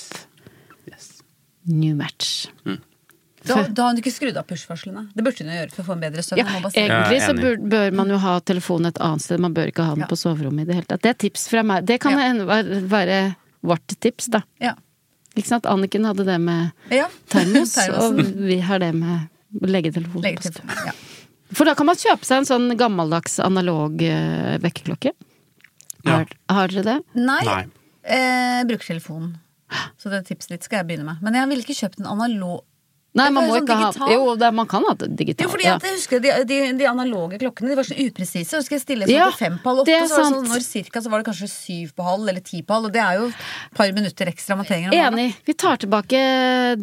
B: New match.
A: Da, da har hun ikke skrudd av push-varslene. Det burde hun jo gjøre for å få en bedre søvn.
B: Ja,
A: hun må bare si-
B: egentlig så
E: enig.
B: bør, bør man jo ha telefonen et annet sted, man bør ikke ha den
A: Ja.
B: på soverommet i det hele tatt. Det er tips fra meg. Det kan
A: Ja.
B: hende være- være vårt tips, da.
A: Ja.
B: Ikke sant? Anniken hadde det med
A: Ja.
B: termos, og
A: Termosen.
B: vi har det med leggetelefon.
A: Legge til. Ja.
B: For da kan man kjøpe seg en sånn gammeldags analog eh, vekkerklokke.
E: Ja.
B: Har, har dere det?
A: Nei,
E: Nei.
A: Eh, bruker telefonen. Så det tipset ditt skal jeg begynne med. Men jeg ville ikke kjøpt en analog
B: Nei,
A: Det
B: man
A: er
B: må
A: sånn
B: ikke
A: digital.
B: ha Jo, det, man kan ha det digitalt.
A: Jo, fordi
B: ja.
A: at jeg husker de, de, de analoge klokkene de var så upresise. Jeg husker jeg stille sånn
B: Ja,
A: til fem på halv åtte,
B: det er
A: så var det sånn,
B: sant.
A: når cirka så var det kanskje syv på halv eller ti på halv. Og det er jo et par minutter ekstra man trenger. om morgenen.
B: Enig. Vi tar tilbake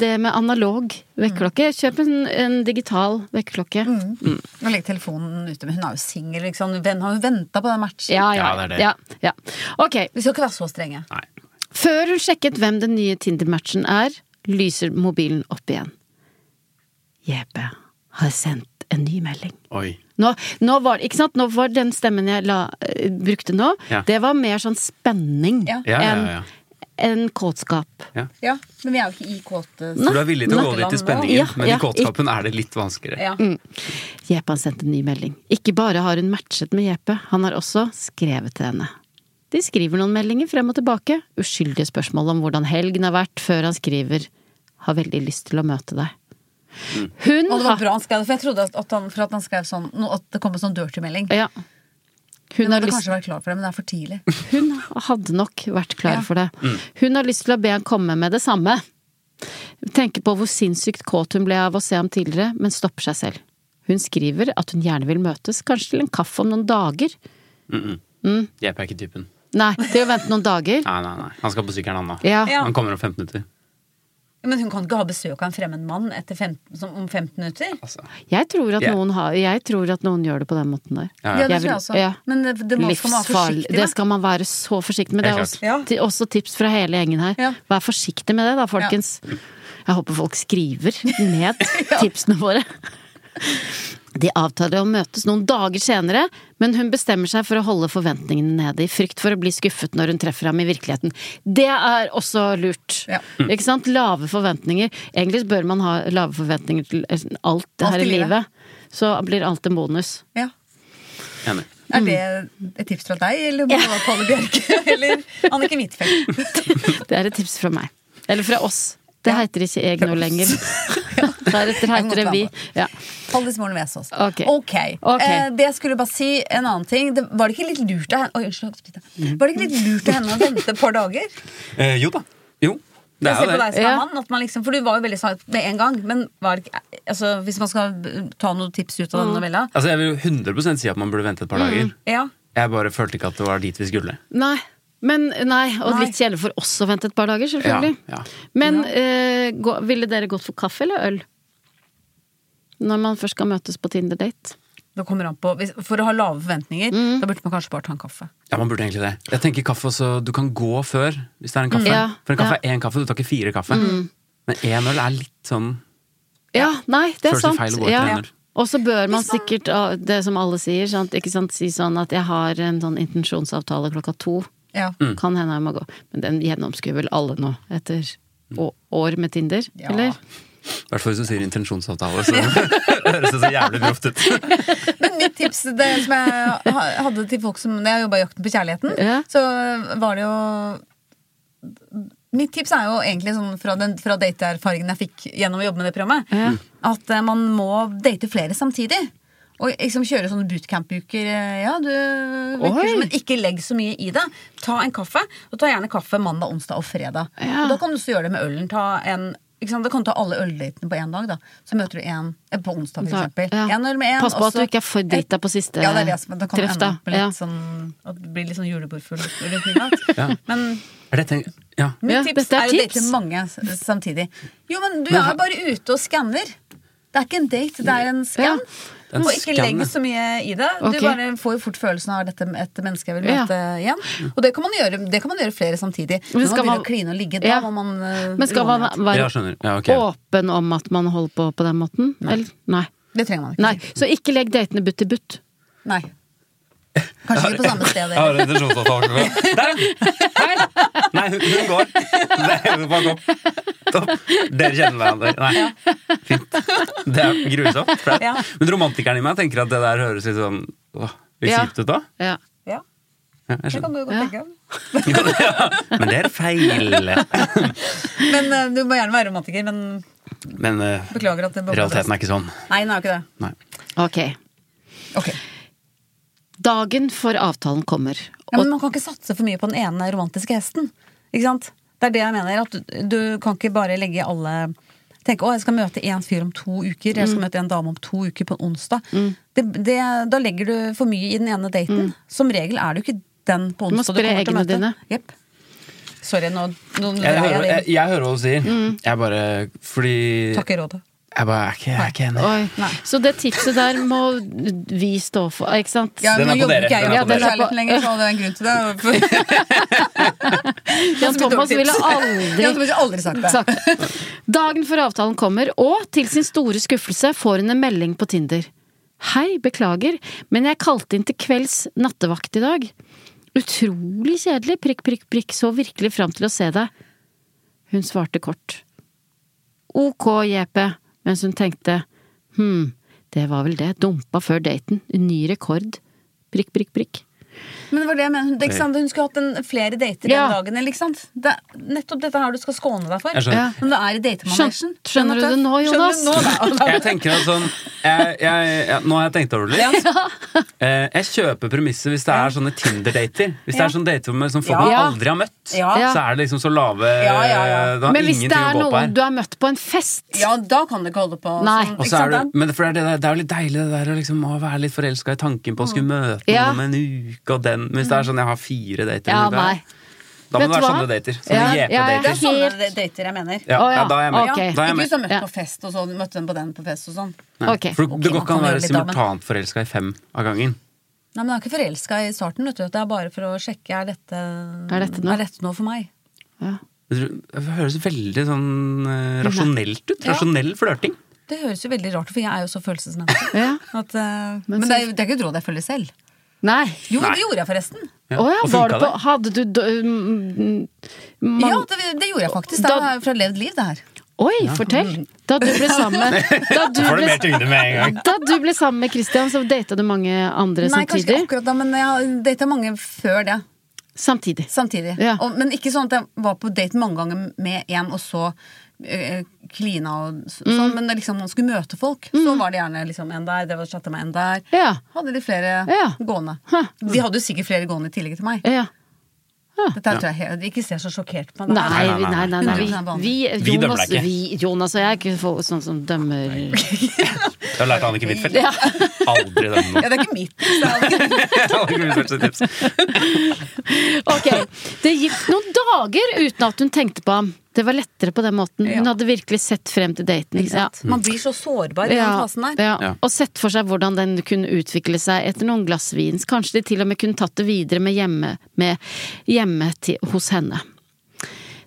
B: det med analog vekkerklokke.
A: Mm.
B: Kjøp en, en digital vekkerklokke.
A: Og legge telefonen ute. Men hun er jo singel, ikke sant. Hun har jo venta på den matchen.
B: Ja, ja,
E: Ja, det er det.
B: ja, ja. Ok,
A: Vi skal ikke være så strenge.
E: Nei.
B: Før hun sjekket hvem den nye Tinder-matchen er, lyser mobilen opp igjen. JP har sendt en ny melding.
E: Oi.
B: Nå, nå var det, ikke sant? Nå var den stemmen jeg la, eh, brukte nå,
E: Ja.
B: det var mer sånn spenning
A: Ja.
E: Ja, ja, ja, ja.
B: enn kåtskap.
A: Ja, men vi er jo ikke i kåte...
B: Nei.
E: Du er villig til å gå
A: Natteland
E: dit i
A: nå.
E: spenningen,
B: Ja,
E: men
B: ja,
E: i kåtskapen er det litt vanskeligere.
A: Ja.
B: Mm. Jeppe har sendt en ny melding. Ikke bare har hun matchet med Jeppe, han har også skrevet til henne. De skriver noen meldinger frem og tilbake, uskyldige spørsmål om hvordan helgen har vært, før han skriver 'har veldig lyst til å møte deg'.
E: Mm.
B: Hun
A: Og det var
B: har
A: bra han skrev det, for jeg trodde at, at, han, for at han skrev sånn no, At det kom en sånn dirty melding.
B: Ja. Hun
A: Hun
B: har
A: hadde
B: lyst
A: kanskje vært klar for det, men det er for tidlig.
B: Hun hadde nok vært klar
A: Ja.
B: for det. Hun har lyst til å be han komme med det samme. Tenker på hvor sinnssykt kåt hun ble av å se ham tidligere, men stopper seg selv. Hun skriver at hun gjerne vil møtes, kanskje til en kaffe om noen dager.
E: Jeppe er ikke typen.
B: Nei, til å vente noen dager.
E: Nei, nei, nei. Han skal på sykkelen, han nå.
B: Ja.
A: Ja.
E: Han kommer om 15 minutter.
A: Men hun kan ikke ha besøk av en fremmed mann etter fem, som, om 15 minutter.
E: Altså.
B: Jeg, tror at
E: Ja.
B: noen har, jeg tror at noen gjør det på den måten der.
E: Ja,
A: Ja,
E: ja.
B: Jeg
A: det tror
B: vil-
A: jeg også.
B: ja.
A: Men det, det må, skal man være
B: Livsfarlig.
A: forsiktig
B: Det
A: med.
B: skal man være så forsiktig med. Det er
E: Helt
B: også,
A: klart. Ja.
B: ti- også tips fra hele gjengen her.
A: Ja.
B: Vær forsiktig med det da, folkens. Jeg håper folk skriver ned tipsene våre. De avtaler å møtes noen dager senere, men hun bestemmer seg for å holde forventningene nede, i frykt for å bli skuffet når hun treffer ham i virkeligheten. Det er også lurt.
A: Ja.
B: Ikke sant? Lave forventninger. Egentlig bør man ha lave forventninger til alt det her i
A: i livet.
B: livet. Så blir alt en bonus.
A: Ja.
E: Enig.
A: Er
B: Mm.
A: det et tips fra deg, eller må det være Palle Bjerke eller Annike Huitfeldt?
B: Det er et tips fra meg. Eller fra oss. Det
A: Ja.
B: heter ikke jeg nå lenger. Deretter
A: Jeg kan
B: heter det
A: godt
B: vi.
A: være
B: Ja.
A: Hallis Moren Vesaas.
B: Ok. Ok.
A: Eh, det jeg skulle bare si en annen ting. Det, var det ikke litt lurt av henne Oi, unnskyld, spytte. Var det ikke litt lurt av henne å vente et par dager?
E: Eh, jo da. Jo.
A: Jeg
E: Det er
A: ser på
E: jo det.
A: deg som er
B: Ja.
A: mann, at man liksom, for du var jo veldig sart med en gang. Men var det ikke, altså, hvis man skal ta noen tips ut av
B: Mm.
A: denne novella
E: Altså, jeg vil jo 100 si at man burde vente et par dager.
A: ja.
E: Jeg bare følte ikke at det var dit vi skulle.
B: Nei. Men nei, og
A: Nei.
B: litt kjedelig for oss å vente et par dager, selvfølgelig.
E: Ja, ja.
B: Men eh, gå, ville dere gått for kaffe eller øl? Når man først skal møtes på Tinder-date.
A: Det kommer an på, hvis, For å ha lave forventninger,
B: Mm.
A: da burde man kanskje bare ta en kaffe.
E: Ja, man burde egentlig det. Jeg tenker kaffe også, Du kan gå før, hvis det er en kaffe.
B: Ja,
E: For en kaffe er én kaffe, du tar ikke fire kaffe.
A: Mm.
E: Men én øl er litt sånn
B: Ja, nei, det er
E: Føles litt
B: sant.
E: feil å gå etter
B: Ja.
E: den øl.
B: Og så bør man sikkert, ah, det som alle sier, sant? ikke sant, si sånn at jeg har en sånn intensjonsavtale klokka to.
A: Ja.
E: Mm.
B: Kan hende jeg må gå. Men den gjennomskuer vel alle nå, etter
E: Mm.
B: å- år med Tinder,
A: Ja.
B: eller?
E: I hvert fall hvis du sier intensjonsavtale, så høres det så jævlig proft ut.
A: Men mitt tips det som jeg ha- hadde til folk som Når jeg jobba i Jakten på kjærligheten,
B: Ja.
A: så var det jo Mitt tips er jo egentlig sånn fra, den- fra dateerfaringen jeg fikk gjennom å jobbe med det programmet, at eh, man må date flere samtidig. Og liksom kjøre sånne bootcamp-uker. eh, Ja, du virker
B: Oi.
A: som, Men ikke legg så mye i det. Ta en kaffe, og ta gjerne kaffe mandag, onsdag og fredag.
B: Ja.
A: Og da kan du også gjøre det med ølen. Ta en, ikke sant? Da kan du ta alle øldatene på én dag. da Så møter du én eh, på onsdag, for
B: Da-
A: eksempel.
B: ja.
A: En øl med en,
B: Pass på
A: og
B: at du
A: så-
B: ikke er for drita på siste
A: ja, det er det som det kan
B: treff,
A: ende
B: da.
A: opp med litt
B: Ja.
A: sånn, at det blir litt sånn julebordfull rundt midnatt. Men
E: Er dette en- ja.
A: mitt
B: Ja,
A: tips
B: dette er
A: er, jo
B: tips.
A: date til mange s- samtidig. Jo, men du
E: Men ha-
A: er bare ute og skanner. Det er ikke en date, det er en skann.
E: er en
A: Og ikke
E: skann,
A: legg
E: ja.
A: så mye i det.
B: Ok.
A: Du bare får jo fort følelsen av dette med et menneske jeg vil
B: Ja.
A: møte igjen. Og det kan man gjøre, det kan man gjøre flere
B: Men
A: samtidig. Når man
B: skal
A: begynner
B: man-
A: å kline og ligge, da
B: Ja.
A: må man eh,
B: Men skal
A: låne
B: man
A: litt.
B: være
E: Ja, skjønner. Ja, ok.
B: åpen om at man holder på på den måten? Eller? Nei.
A: Det trenger man ikke.
B: Nei. Så ikke legg datene butt i butt.
A: Nei. Kanskje ikke på samme sted.
E: Jeg har en intensjonsavtale. Der! Hei! Nei, hun, hun går. Det er jo bare topp. Topp. Dere kjenner hverandre. Nei. Fint. Det er grusomt. flaut.
A: Ja.
E: Men romantikeren i meg tenker at det der høres litt sånn åh, litt
B: Ja.
E: kjipt ut da.
B: Ja.
A: Ja,
E: Ja, jeg
A: det kan
E: skjønner.
A: du jo godt
B: Ja.
A: tenke om.
E: Men det er feil.
A: Men eh, Du må gjerne være romantiker, men
E: Men eh,
A: beklager at det
E: realiteten er ikke sånn.
A: Nei, den er jo ikke det.
E: Nei.
B: Ok.
A: Ok.
B: Dagen for avtalen kommer.
A: Ja, men
B: Og,
A: man kan ikke satse for mye på den ene romantiske hesten. Ikke sant? Det er det jeg mener. At du, du kan ikke bare legge alle Tenke å, jeg skal møte en fyr om to uker, jeg
B: Mm.
A: skal møte en dame om to uker på en onsdag. Det, det, da legger du for mye i den ene daten. Som regel er du ikke den på
B: Mm. må
A: onsdag du,
B: spre
A: kommer til å
B: eggene
A: møte.
B: dine.
A: Jepp. Sorry, nå, nå
E: Jeg
A: dreier
E: hører,
A: jeg Mm.
E: jeg,
A: det.
E: jeg hører hva du sier. Jeg bare Fordi
A: Takk i rådet.
E: Jeg bare er ikke, jeg er ikke enig.
B: Oi. Så det tipset der må vi stå for, ikke sant?
A: Ja,
E: Den
A: nå
E: er på
A: jobber
E: dere,
A: ikke jeg
E: den
A: i
E: er på
B: dere.
A: kjærligheten lenger, så det er en grunn til det.
B: Jan
A: så mye
B: Thomas
A: dårlig
B: ville
A: tips. Jeg
B: aldri
A: hadde aldri sagt det.
B: sagt det. Dagen før avtalen kommer, og til sin store skuffelse får hun en melding på Tinder. Hei, beklager, men jeg kalte inn til kvelds nattevakt i dag. Utrolig kjedelig, prikk, prikk, prikk, så virkelig fram til å se deg. Hun svarte kort. Ok, JP, mens hun tenkte hm, det var vel det, dumpa før daten, ny rekord, prikk, prikk, prikk.
A: Men det var det jeg mener. Det, er ikke sant? Hun skulle hatt en, flere dater
B: Ja.
A: i dagen. Eller, ikke sant? Det er nettopp dette her du skal skåne deg for.
E: Jeg skjønner.
A: Men det er i datemanesjen.
B: Skjønt- skjønner du det nå, Jonas?
A: Altså,
E: Jeg tenker at sånn jeg, jeg, jeg, Nå har jeg tenkt over det litt. Eh, Jeg kjøper premisset hvis det er sånne Tinder-dater. Hvis det
A: Ja.
E: er sånne dater med, som folk
A: Ja.
E: man aldri har møtt,
A: Ja.
E: så er det liksom så lave
A: Ja, ja, ja.
E: Du har
B: Men hvis det
E: ingenting
B: er
E: å gå på
B: noen
E: her.
B: du har møtt på en fest,
A: Ja, da kan du ikke holde på
B: Nei.
A: sånn.
E: Og
A: Ikke
E: så er
A: sant?
E: du, men for det, er det, der- det er jo litt deilig det der å liksom, å være litt forelska i tanken på å skulle møte
B: Ja.
E: noen om en uke og den Men Hvis det er sånn jeg har fire dater,
B: ja,
E: eller noe,
B: nei. Vet
E: da må det være
B: du hva?
E: sånne dater.
B: Ja,
E: Sånne
B: ja, ja.
A: Det er
E: JP-dater.
A: sånne
B: Helt-
A: dater jeg mener.
E: Ja,
B: Å,
E: ja,
B: ja.
E: da er jeg med.
B: Ok.
E: Da er jeg
A: Ikke
E: med.
A: du som møtte
B: Ja.
A: på fest, og så møtte hun på den på fest og sånn.
E: Nei.
B: Ok.
E: For det
A: Ok,
E: går
A: man
E: ikke an å
A: kan
E: være
A: gjøre litt, da, men-
E: simultant forelska i fem av gangen.
A: Nei, men jeg er ikke forelska i starten, vet du. Det er bare for å sjekke er dette,
B: Er dette noe?
A: noe for meg.
E: Det høres veldig sånn eh, rasjonelt ut.
A: Ja.
E: Rasjonell flørting.
A: Det høres jo veldig rart ut, for jeg er jo så følelsesmenneske.
B: Ja.
A: At, eh,
B: Men
A: men
B: så-
A: det er, jo- det er ikke et råd jeg følger selv.
B: Nei.
A: Jo,
E: Nei.
A: det gjorde jeg forresten.
E: Ja.
B: Å ja,
E: Og
B: var
E: funka
B: det på Hadde du d- mm, mm, man,
A: Ja, det, det gjorde jeg faktisk. Det
B: Da-
A: er fra levd liv, det her.
B: Oi, fortell! Da du ble sammen Da du
E: Får du
B: ble,
E: mer tyngde med en gang.
B: da du ble sammen med Christian, så data du mange andre
A: Nei, kanskje ikke
B: samtidig?
A: akkurat da, men jeg har data mange før det.
B: Samtidig.
A: Samtidig.
B: Ja.
A: Og, men ikke sånn at jeg var på date mange ganger med en, og så eh, klina og s-
B: Mm.
A: sånn. Men det liksom, når man skulle møte folk, så var det gjerne liksom en der, det var chatta meg en der.
B: Ja.
A: Hadde de flere
B: Ja.
A: gående.
B: Hæ.
A: De hadde jo sikkert flere gående i tillegg til meg.
B: ja.
A: Dette her tror jeg helt, Ikke se så sjokkert på meg.
B: Nei, nei,
E: nei,
B: nei.
E: nei.
B: nei, Vi, vi,
E: Vi dømmer
B: Jonas,
E: deg ikke.
B: vi, Jonas og jeg er ikke folk sånn som dømmer
E: Jeg har lært av Annike Huitfeldt. Aldri den nå.
A: Ja, det er ikke mitt. Så jeg hadde ikke-
E: Annike Huitfeldt sitt tips.
B: Ok, Det gikk noen dager uten at hun tenkte på ham. Det var lettere på den måten. Hun
A: Ja.
B: hadde virkelig sett frem til daten. Ja.
A: Man blir så sårbar i den fasen der.
B: Ja.
E: Ja.
B: Og sett for seg hvordan den kunne utvikle seg etter noen glass vin. Kanskje de til og med kunne tatt det videre med hjemme, med hjemme til, hos henne.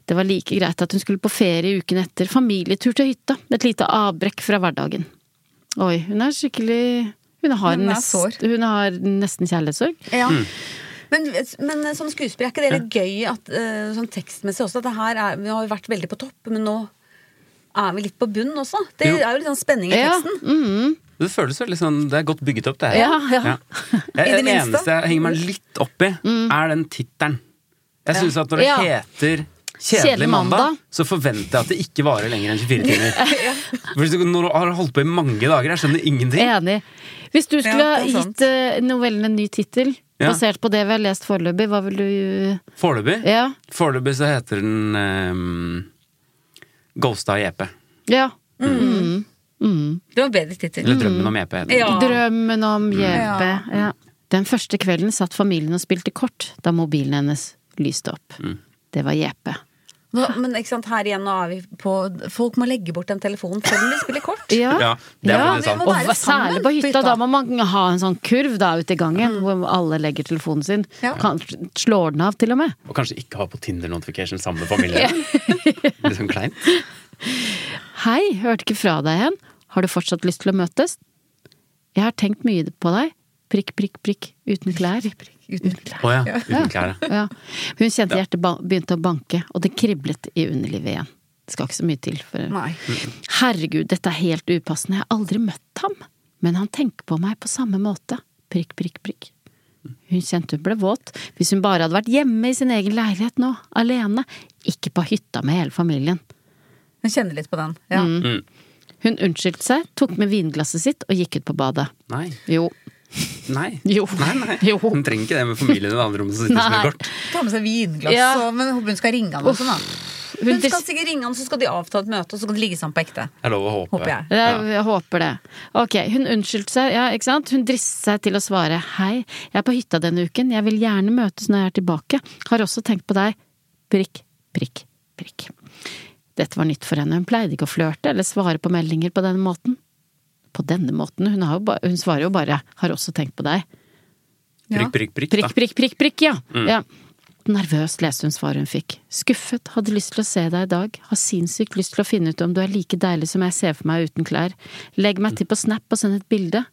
B: Det var like greit at hun skulle på ferie uken etter. Familietur til hytta. Et lite avbrekk fra hverdagen. Oi, hun er skikkelig Hun har,
A: Hun er
B: nest,
A: sår.
B: hun har nesten kjærlighetssorg.
A: Ja. Men, men eh, som skuespiller, er ikke det litt gøy at, eh, sånn tekstmessig også? At det her er, vi har jo vært veldig på topp, men nå er vi litt på bunn også. Det
E: Jo.
A: er jo litt sånn spenning i
B: Ja. Mm,
A: teksten.
E: Det føles veldig sånn Det er godt bygget opp, det her.
B: Ja, ja.
E: Det,
A: I det minste.
E: eneste jeg henger meg litt opp i, er den tittelen. Jeg syns at når det
B: Ja.
E: heter
B: Kjedelig
E: Kjedelig mandag,
B: mandag.
E: så forventer jeg at det ikke varer lenger enn 24 timer. For hvis du- Når du har holdt på i mange dager, jeg skjønner ingenting.
B: Enig. Hvis du skulle
A: Ja,
B: ha
A: det er sant.
B: gitt eh, novellen en ny tittel,
E: Ja.
B: basert på det vi har lest foreløpig, hva vil du
E: Foreløpig
B: Ja.
E: Foreløpig så heter den ehm, E Ghosta og JP.
B: ja.
A: Det var bedre tittel.
E: Eller Drømmen om JP. heter den.
A: Ja. Mm.
B: Drømmen om JP. Ja. Den første kvelden satt familien og spilte kort da mobilen hennes lyste opp.
E: Mm.
B: Det var JP.
A: Nå, men ikke sant, her igjen nå er vi på Folk må legge bort den telefonen før de spiller kort.
E: Ja, det er faktisk sant.
B: Og
A: Vi må være sammen
B: særlig på
A: på
B: hytta.
A: hytta.
B: Da må man ha en sånn kurv da ute i gangen, hvor alle legger telefonen sin.
A: Ja.
B: Kanskje slår den av, til og med.
E: Og kanskje ikke ha på Tinder notification sammen med familien. Litt sånn kleint.
B: Hei, hørte ikke fra deg igjen. Har du fortsatt lyst til å møtes? Jeg har tenkt mye på deg. Prikk, prikk, prikk. Uten klær.
A: Uten klær.
E: Å ja. Uten klær, ja.
B: Ja. Hun kjente hjertet ba- begynte å banke, og det kriblet i underlivet igjen. Det skal ikke så mye til. For...
A: Nei.
B: Herregud, dette er helt upassende. Jeg har aldri møtt ham. Men han tenker på meg på samme måte. Prikk, prikk, prikk. Hun kjente hun ble våt. Hvis hun bare hadde vært hjemme i sin egen leilighet nå, alene. Ikke på hytta med hele familien.
A: Jeg kjenner litt på den. Ja.
B: Hun unnskyldte seg, tok med vinglasset sitt og gikk ut på badet.
E: Nei.
B: Jo.
E: Nei.
B: Jo.
E: Nei, nei.
B: Jo.
E: Hun trenger ikke det med familien i det andre rommet som sitter
B: Nei.
E: med kort.
A: Ta med seg vinglass,
B: Ja.
A: og, men håper hun skal ringe han og sånn, da.
B: Hun
A: Hun skal sikkert ringe han, så skal de avtale et møte, og så skal de ligge sammen på ekte.
E: Det er lov å håpe.
A: Håper jeg.
B: Jeg, jeg håper det. Ok, hun unnskyldte seg, ja, ikke sant? Hun dristet seg til å svare hei, jeg er på hytta denne uken, jeg vil gjerne møtes når jeg er tilbake, har også tenkt på deg, prikk, prikk, prikk. Dette var nytt for henne. Hun pleide ikke å flørte eller svare på meldinger på denne måten. På denne måten? Hun, har jo ba hun svarer jo bare 'har også tenkt på deg'.
E: Prikk, prikk, prikk.
B: Prikk,
E: da.
B: prikk, prikk, prikk, ja. ja. Nervøst leste hun svaret hun fikk. Skuffet, hadde lyst til å se deg i dag, har sinnssykt lyst til å finne ut om du er like deilig som jeg ser for meg uten klær. Legg meg til på Snap og send et bilde.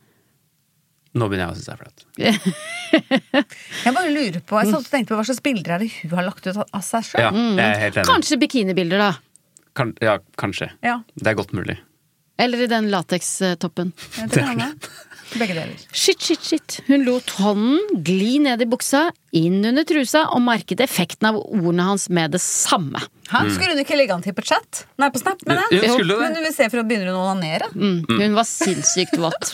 E: Nå begynner jeg å synes det er flaut.
A: Jeg bare lurer på, jeg satt og tenkte på hva slags bilder er det hun har lagt ut av seg sjøl.
E: Ja, jeg er helt enig.
B: Mm. Kanskje bikinibilder, da.
E: Kan, ja, kanskje.
A: Ja.
E: Det er godt mulig.
B: Eller i den latekstoppen.
A: Det kan hende. Begge deler.
B: Shit, shit, shit. Hun lot hånden gli ned i buksa, inn under trusa, og merket effekten av ordene hans med det samme.
A: Hæ? Skulle hun ikke legge an til på chat? Nei, på Snap, mener
E: Jo,
A: jeg.
E: skulle det.
A: Men hun vil se for å begynne å onanere.
B: Mm. Hun var sinnssykt våt.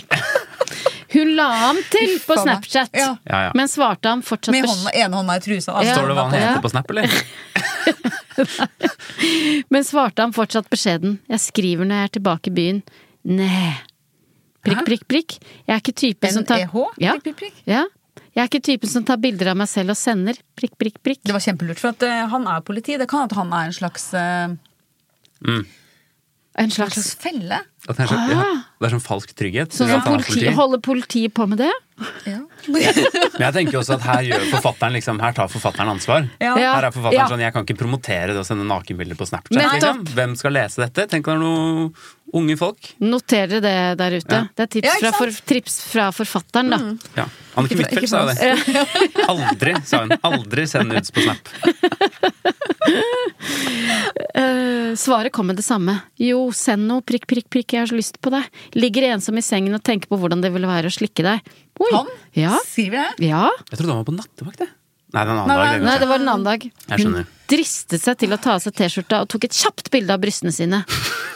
B: Hun la ham til på
A: faen meg.
B: Snapchat,
A: Ja.
E: Ja, ja.
B: men svarte ham fortsatt
A: Med
B: på
A: hånda, ene hånda i trusa. og
B: Ja.
E: Står det hva han
B: Ja.
E: heter på Snap, eller?
B: Men svarte han fortsatt beskjeden. Jeg skriver når jeg er tilbake i byen. Nei. Prikk, prikk, prikk. Jeg er ikke typen som tar
A: NEH? E Prikk,
B: Ja.
A: prikk, prikk.
B: Ja. Jeg er ikke typen som tar bilder av meg selv og sender. Prikk, prikk, prikk.
A: Det var kjempelurt, for at eh, han er politi. Det kan at han er en slags, eh,
B: En
A: en slags
B: slags
A: felle.
E: At det, er så, ja, det er sånn falsk trygghet.
B: Ah. Sånn
E: Ja,
B: som
E: at han er
B: politi,
E: politi.
B: holder politiet på med det?
E: Men jeg tenker jo også at her gjør forfatteren liksom, her tar forfatteren ansvar.
A: Ja.
B: Ja.
E: Her er forfatteren
A: Ja.
E: sånn, Jeg kan ikke promotere det å sende nakenbilder på Snapchat.
B: Nettopp.
E: Liksom. Hvem skal lese dette? Tenk om det er noen unge folk.
B: Noterer det der ute. Det er tips,
A: Ja, ikke
B: fra,
A: sant? Mm.
B: for, tips fra forfatteren, da.
E: Ja. Annike
A: Ikke fra-
E: Huitfeldt sa jo det. Aldri, sa hun. Aldri send nudes på Snap.
B: Eh, Svaret kom med det samme. Jo, send noe, prikk, prikk, prikk, jeg har så lyst på deg. Ligger ensom i sengen og tenker på hvordan det ville være å slikke deg. Oi.
A: Han
B: Ja.
A: skriver det.
B: ja.
E: Jeg trodde han var på nattevakt, jeg. Nei, det er en
A: Nei,
E: annen dag.
B: Nei,
E: det,
B: det var en annen dag.
E: Jeg skjønner.
B: Hun dristet seg til å ta av seg T-skjorta og tok et kjapt bilde av brystene sine.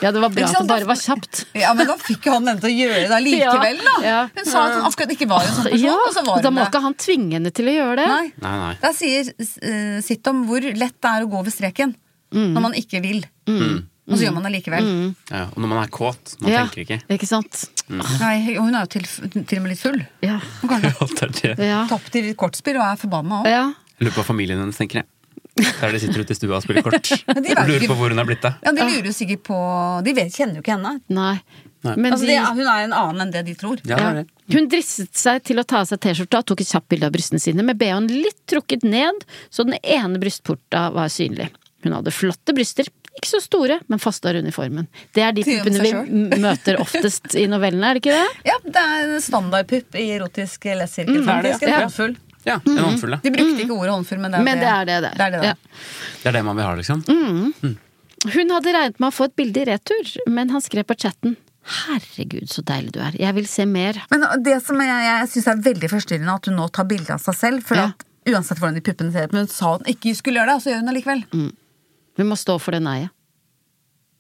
B: Ja, det var bra
A: Ikke
B: at
A: sant?
B: det bare var kjapt.
A: Ja, Men da fikk jo han henne til å gjøre det likevel, da.
B: Ja.
A: Hun sa at han akkurat ikke var en sånn person,
B: Ja,
A: og så var
B: Da
A: hun
B: må
A: det.
B: ikke han tvinge henne til å gjøre det.
A: Nei.
E: Nei, nei.
A: Det sier eh, sitt om hvor lett det er å gå over streken
B: Mm.
A: når man ikke vil. Og så gjør man det likevel.
E: Ja, ja. og når man er kåt, man
B: ja,
E: tenker ikke.
B: sant?
A: Nei, og hun er jo til, til og med litt full.
B: Ja.
A: Hun kan jo
E: Alt er det.
B: Ja.
A: tapt i litt kortspill og er forbanna òg.
B: ja.
E: Jeg Lurer på hva familien hennes tenker, jeg. Der de sitter ute i stua og spiller kort.
A: de vet
E: Lurer
A: ikke-
E: på hvor hun er blitt av.
A: Ja,
B: Ah.
A: de lurer jo sikkert på De vet, kjenner jo ikke henne.
B: Nei. Men
A: Altså, det, er- hun er en annen enn det de tror.
E: Ja, det er
B: Ja.
E: det.
B: Hun dristet seg til å ta av seg T-skjorta og tok et kjapt bilde av brystene sine, med BH-en litt trukket ned, så den ene brystporta var synlig. Hun hadde flotte bryster, ikke så store, men faste og runde i formen. Det er de
A: Til
B: puppene vi
A: seg
B: m- møter oftest i novellene, er det ikke det?
A: Ja, Det er en standardpupp i erotisk lesesirkel.
B: Mm,
E: det er det,
A: faktisk. En
E: ja.
A: håndfull.
E: Ja,
B: Mm-hmm.
E: en håndfull, ja.
A: De brukte ikke ordet håndfull, men det er
B: Men det er det det er.
A: det er. det.
B: Ja.
E: Det er det man vil ha, liksom.
B: Mm. Hun hadde regnet med å få et bilde i retur, men han skrev på chatten. Herregud, så deilig du er. Jeg vil se mer.
A: Men det som jeg, jeg syns er veldig forstyrrende, at hun nå tar bilde av seg selv. For
B: Ja.
A: at uansett hvordan de puppene ser ut, men hun sa hun ikke skulle gjøre det, og så gjør hun det likevel.
B: Mm. Hun må stå for det nei-et.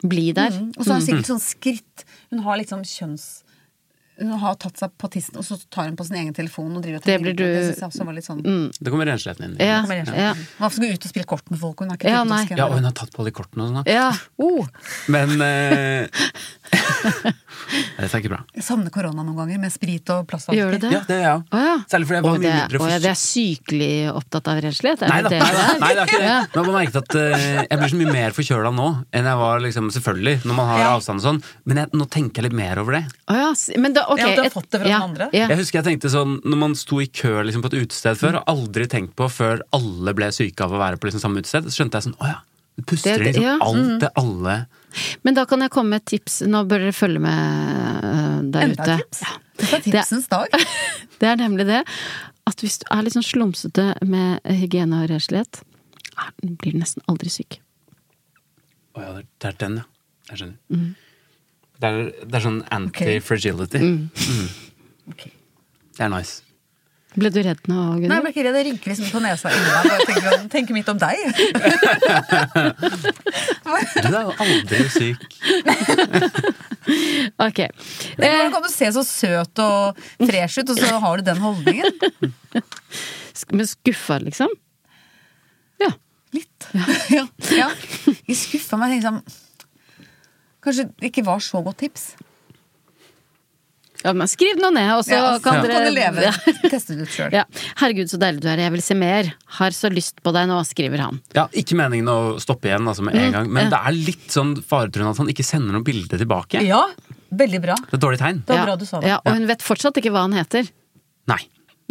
B: Bli der.
A: Og så har hun sikkert sånn skritt Hun har liksom kjønns... Hun har tatt seg på tissen, og så tar hun på sin egen telefon og driver og
B: Det
A: tar
B: blir
A: bilder.
B: du-
A: Det synes jeg også var litt sånn
E: Det kommer renslefen inn.
B: Ja,
A: Kommer igjen.
B: ja.
A: Man skal gå ut og spille kort med folk, hun har ikke
B: Ja,
A: tid til
B: nei.
A: å skrive.
E: Ja, og hun har tatt på alle de kortene og sånn. da.
B: ja. Oh.
E: Men eh, Dette er ikke bra.
A: Jeg savner korona noen ganger, med sprit og plasthansker.
B: Gjør du det?
E: Ja, det gjør jeg
B: Å ja.
E: òg. Særlig fordi jeg
B: Å,
E: var mye
B: det,
E: mindre
B: å, ja, det
E: forsiktig.
B: er sykelig opptatt av renslighet? Er
E: Nei da,
B: det det
E: nei, da,
B: det er?
E: nei, det er ikke det.
B: Ja.
E: Men jeg bare merket at eh, jeg blir så mye mer forkjøla nå enn jeg var liksom, selvfølgelig, når man har
A: Ja.
E: avstand og sånn, men jeg, nå tenker jeg litt mer over det.
B: Å ja, s- men da, ok.
A: Ja, du har
B: et-
A: fått det fra
B: ja,
A: den andre.
B: Ja.
E: Jeg husker jeg tenkte sånn, når man sto i kø liksom, på et utested før, og aldri tenkt på før alle ble syke av å være på liksom, samme utested, så skjønte jeg sånn, å ja, du
B: Det-
E: puster inn liksom,
B: ja. Mm.
E: alt det alle
B: Men da kan jeg komme med et tips. Nå bør dere følge med øh, der
A: Enda
B: ute.
A: et tips. Dette er tipsens dag.
B: Det er nemlig det at hvis du er litt sånn slumsete med hygiene og renslighet, er- blir du nesten aldri syk.
E: Å ja, det er den, ja. Jeg skjønner.
B: Mm.
E: Det, er, det er sånn anti-fragility.
B: Mm.
A: Ok.
E: Det er nice.
B: Ble du redd nå,
A: Nei, jeg
B: Gunnar?
A: ble ikke redd. Det rynker liksom på nesa inni meg. Bare tenker, tenker mitt om deg.
E: Du er jo aldri syk.
B: Ok. Eh,
A: Hvordan kan du se så søt og fresh ut, og så har du den holdningen?
B: Sk- Men skuffa, liksom? Ja.
A: Litt. Ja. ja. Jeg skuffa meg. Jeg tenkte sånn Kanskje det ikke var så godt tips.
B: Ja, men skriv noe ned, og så
G: Ja,
B: kan
G: så
B: dere
G: kan du leve.
B: Ja.
G: Teste det ut sjøl.
B: Ja. Herregud, så deilig du er. Jeg vil se mer. Har så lyst på deg nå, skriver han.
E: Ja, Ikke meningen å stoppe igjen altså,
A: Mm,
E: med en gang, men det
B: ja.
E: er litt sånn faretruende at han ikke sender noe bilde tilbake.
A: Ja, veldig bra.
E: Det er et dårlig tegn.
A: Det var bra du sa det.
B: Ja, og hun vet fortsatt ikke hva han heter.
E: Nei.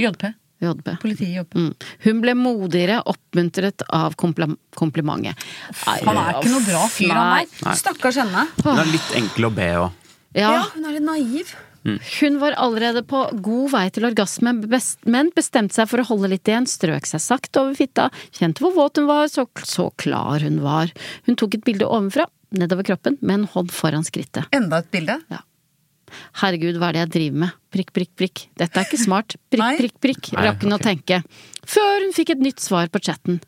A: JP.
B: JB.
A: Politiet i JP.
B: Mm. Hun ble modigere oppmuntret av kompla- komplimentet. Nei,
A: Han er ikke noe bra fyr, han
B: Nei.
A: der. Stakkars henne.
E: Den er litt enkel å be òg.
B: Ja,
A: Ja, hun er litt naiv.
B: hun var allerede på god vei til orgasme, best, men bestemte seg for å holde litt igjen, strøk seg sakte over fitta, kjente hvor våt hun var, så, så klar hun var. Hun tok et bilde ovenfra, nedover kroppen, med en hånd foran skrittet.
A: Enda et bilde.
B: Herregud, hva er det jeg driver med? Prikk, prikk, prikk. Dette er ikke smart. Prikk,
A: Nei.
B: prikk, prikk, rakk hun å tenke. Før hun fikk et nytt svar på chatten.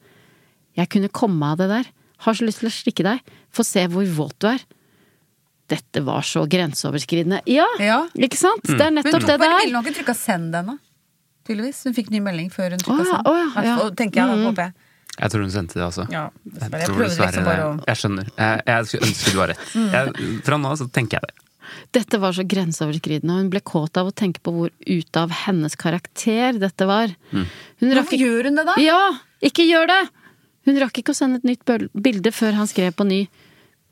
B: Jeg kunne komme av det der. Har så lyst til å slikke deg. Få se hvor våt du er. Dette var så grenseoverskridende. Ja,
A: Ja.
B: ikke sant? Det er
A: Hun
B: nettopp
A: tok
B: det
A: bare
B: det er.
A: bildet, hun har ikke trykka 'send' ennå. Tydeligvis. Hun fikk ny melding før hun trykka
B: Å ja,
A: 'send'.
B: å ja, Mm. ja.
A: Hvertfall, Tenker jeg, da, håper jeg.
E: Jeg tror hun sendte det, altså.
A: Ja,
E: Jeg,
A: dessverre. Jeg
E: tror
A: prøvde
E: dessverre
A: liksom bare
E: det.
A: å Mm.
E: jeg skjønner. Jeg, jeg skulle ønske du var rett. Jeg, fra nå av så tenker jeg det.
B: Dette var så grenseoverskridende, og hun ble kåt av å tenke på hvor ute av hennes karakter dette var. Hun rakk
A: Hvorfor
B: ikke
A: gjør hun det, da?
B: Ja! Ikke gjør det! Hun rakk ikke å sende et nytt bøl- bilde før han skrev på ny.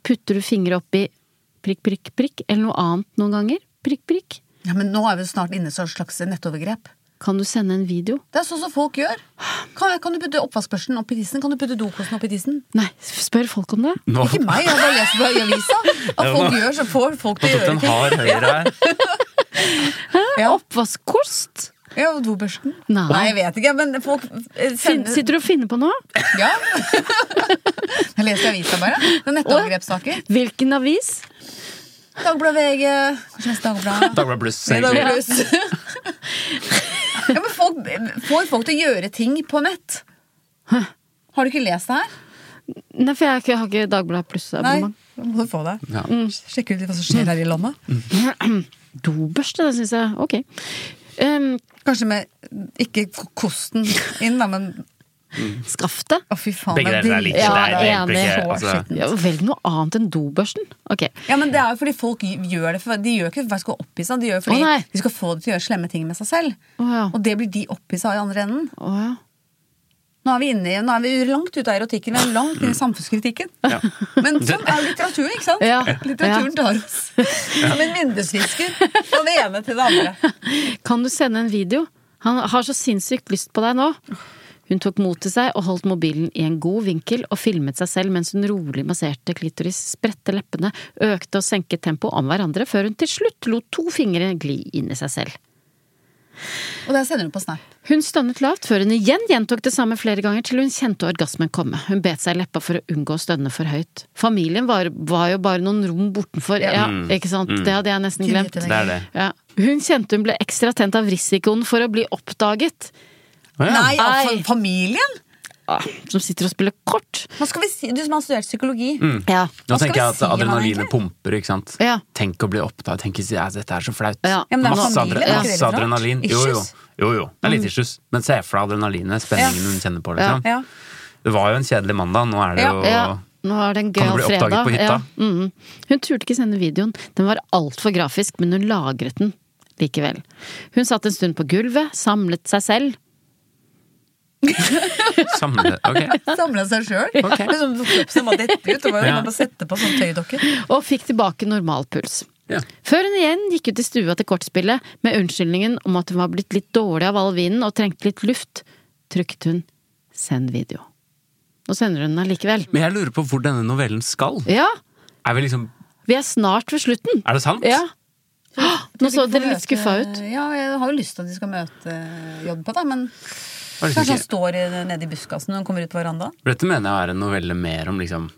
B: Putter du fingre opp i prikk, prikk, prikk, eller noe annet noen ganger? Prikk, prikk.
A: Ja, men nå er vi jo snart inne i et slags nettovergrep.
B: Kan du sende en video?
A: Det er sånn som folk gjør. Kan, kan du putte oppvaskbørsten opp i tissen? Kan du putte dokosen opp i tissen?
B: Nei, spør folk om det.
E: Nå
A: Ikke meg, jeg har bare lest det i avisa. At folk gjør så får folk til å
E: tok
A: gjøre
E: den
A: ting.
E: hard høyre her.
A: Ja,
B: Oppvaskkost?
A: ja og dobørsten.
B: Nei.
A: Nei, jeg vet ikke, men folk eh,
B: Fin,
A: sender
B: sitter du og finner på noe?
A: Ja. Jeg leser i avisa bare. Det er nettovergrepssaker.
B: Hvilken avis?
A: Dagbladet VG, kanskje neste Dagbladet.
E: Dagbladet Bluss.
A: Dagbladet Plus. Ja, men folk får folk til å gjøre ting på nett. Har du ikke lest det her?
B: Nei, for jeg har ikke- har ikke Dagbladet
A: Nei.
B: Pluss-abonnement.
A: Nå må du få det.
E: Ja.
A: Mm.
E: Mm.
A: Sjekke ut litt hva som skjer her i landet.
B: Dobørste, det syns jeg. Ok. Um,
A: Kanskje med ikke kosten inn, da, men
B: Skaff det.
A: Å, fy faen.
E: Begge
A: det
E: deler er
A: drit-
E: like.
B: Ja,
E: det er
B: jeg er
E: egentlig
B: enig.
E: ikke- altså,
B: Ja, velg noe annet enn dobørsten. Ok.
A: Ja, men det er jo fordi folk gjør det for, De gjør ikke for at de skal oppgi seg, de gjør det fordi
B: Å, nei.
A: de skal få det til å gjøre slemme ting med seg selv.
B: Å ja.
A: Og det blir de opphisset av i andre enden.
B: Å ja.
A: Nå er vi, inne, i- nå er vi langt ute av erotikken, vi er langt inn i samfunnskritikken. Men sånn er litteraturen, ikke sant?
B: Ja.
A: Litteraturen tar oss som en vindusvisker fra det ene til det andre.
B: Kan du sende en video? Han har så sinnssykt lyst på deg nå. Hun tok mot til seg og holdt mobilen i en god vinkel og filmet seg selv mens hun rolig masserte klitoris, spredte leppene, økte og senket tempoet om hverandre før hun til slutt lot to fingre gli inn i seg selv.
A: Og det sender hun på Snap.
B: Hun stønnet lavt før hun igjen gjentok det samme flere ganger til hun kjente orgasmen komme. Hun bet seg i leppa for å unngå å stønne for høyt. Familien var, var jo bare noen rom bortenfor. Ja, ikke sant? Det hadde jeg nesten
A: Kunne
B: glemt.
A: gitt henne
E: Det er det.
B: Ja. Hun kjente hun ble ekstra tent av risikoen for å bli oppdaget.
E: Å, ja.
A: Nei,
B: Ei.
A: altså, familien?
B: Som sitter og spiller kort.
A: Hva skal vi si? Du som har studert psykologi.
B: Ja.
A: Hva
E: Nå
A: skal
E: tenker jeg
A: vi
E: at
A: si om han
E: adrenalinet
A: egentlig?
E: pumper, ikke sant.
B: Ja.
E: Tenk å bli opptatt. Tenk ikke si at dette er så flaut.
B: Ja. Ja,
A: men det er
E: masse,
A: familie, er ikke det
E: adre masse
A: litt rart?
E: adrenalin. Jo, jo.
A: Issues? Mm.
E: jo, jo. Det er litt issues. Men se for deg adrenalinet, spenningen hun kjenner på. Liksom.
A: Ja.
E: Det var jo en kjedelig mandag, nå er det
A: Ja.
E: jo
B: Ja. Nå er det en
E: Kan
B: gøyal
E: du bli
B: fredag.
E: oppdaget på hytta?
B: Ja. Mhm. Hun turte ikke sende videoen. Den var altfor grafisk, men hun lagret den likevel. Hun satt en stund på gulvet, samlet seg selv.
E: samle... Ok.
A: Samla seg sjøl. Liksom, kroppen var dette ut. Det var jo
E: Ja.
A: man bare sette på sånn tøydokke.
B: og fikk tilbake normal puls.
E: Ja.
B: Før hun igjen gikk ut i stua til kortspillet med unnskyldningen om at hun var blitt litt dårlig av all vinen og trengte litt luft, trykket hun 'send video'. Nå sender hun den allikevel.
E: Men jeg lurer på hvor denne novellen skal.
B: Ja,
E: Er, vi liksom,
B: vi er snart ved slutten.
E: er det sant?
B: Ja. Åh, Nå så
A: Vi får
B: dere litt
A: møte-
B: skuffa ut.
A: Ja, jeg har jo lyst til at de skal møte jobb på det, men
E: Er det
A: kanskje han
E: ikke-
A: står i- nede i buskasen når han kommer ut på verandaen?
E: Dette mener jeg er en novelle mer om liksom,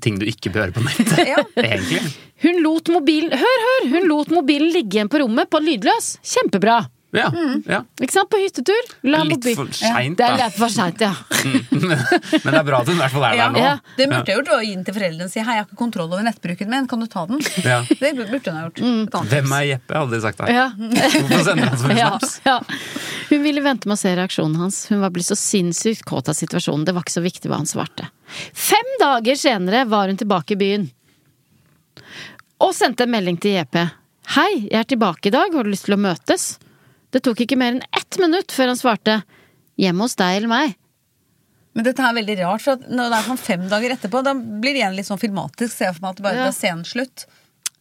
E: ting du ikke bør gjøre på nettet.
A: Ja.
E: Egentlig.
B: Hun lot mobilen Hør, hør! Hun lot mobilen ligge igjen på rommet på lydløs. Kjempebra!
E: Ja.
A: Mm.
E: ja.
B: Ikke sant? På hyttetur. La
E: Litt
B: mobil-
E: for seint,
B: Det er
E: da.
B: litt for seint, ja.
E: Men det er bra at hun i hvert fall er
A: Ja.
E: der nå.
B: Ja.
A: Det burde jeg gjort, å gi den til foreldrene og si hei, jeg har ikke kontroll over nettbruken min, kan du ta den?
E: Ja.
A: Det burde hun ha gjort.
B: Mm,
A: Et annet tips.
E: Hvem er Jeppe, hadde de sagt da.
B: ja.
E: Hvorfor sender han så mye
B: Ja,
E: snaps?
B: ja. Hun ville vente med å se reaksjonen hans. Hun var blitt så sinnssykt kåt av situasjonen. Det var ikke så viktig hva han svarte. Fem dager senere var hun tilbake i byen. Og sendte en melding til JP. Hei, jeg er tilbake i dag, har du lyst til å møtes? Det tok ikke mer enn ett minutt før han svarte hjemme hos deg eller meg.
A: Men dette er veldig rart, for at når det er sånn fem dager etterpå, da blir det igjen litt sånn filmatisk. Ser jeg for meg at det bare
B: Ja.
A: det er scenen slutt.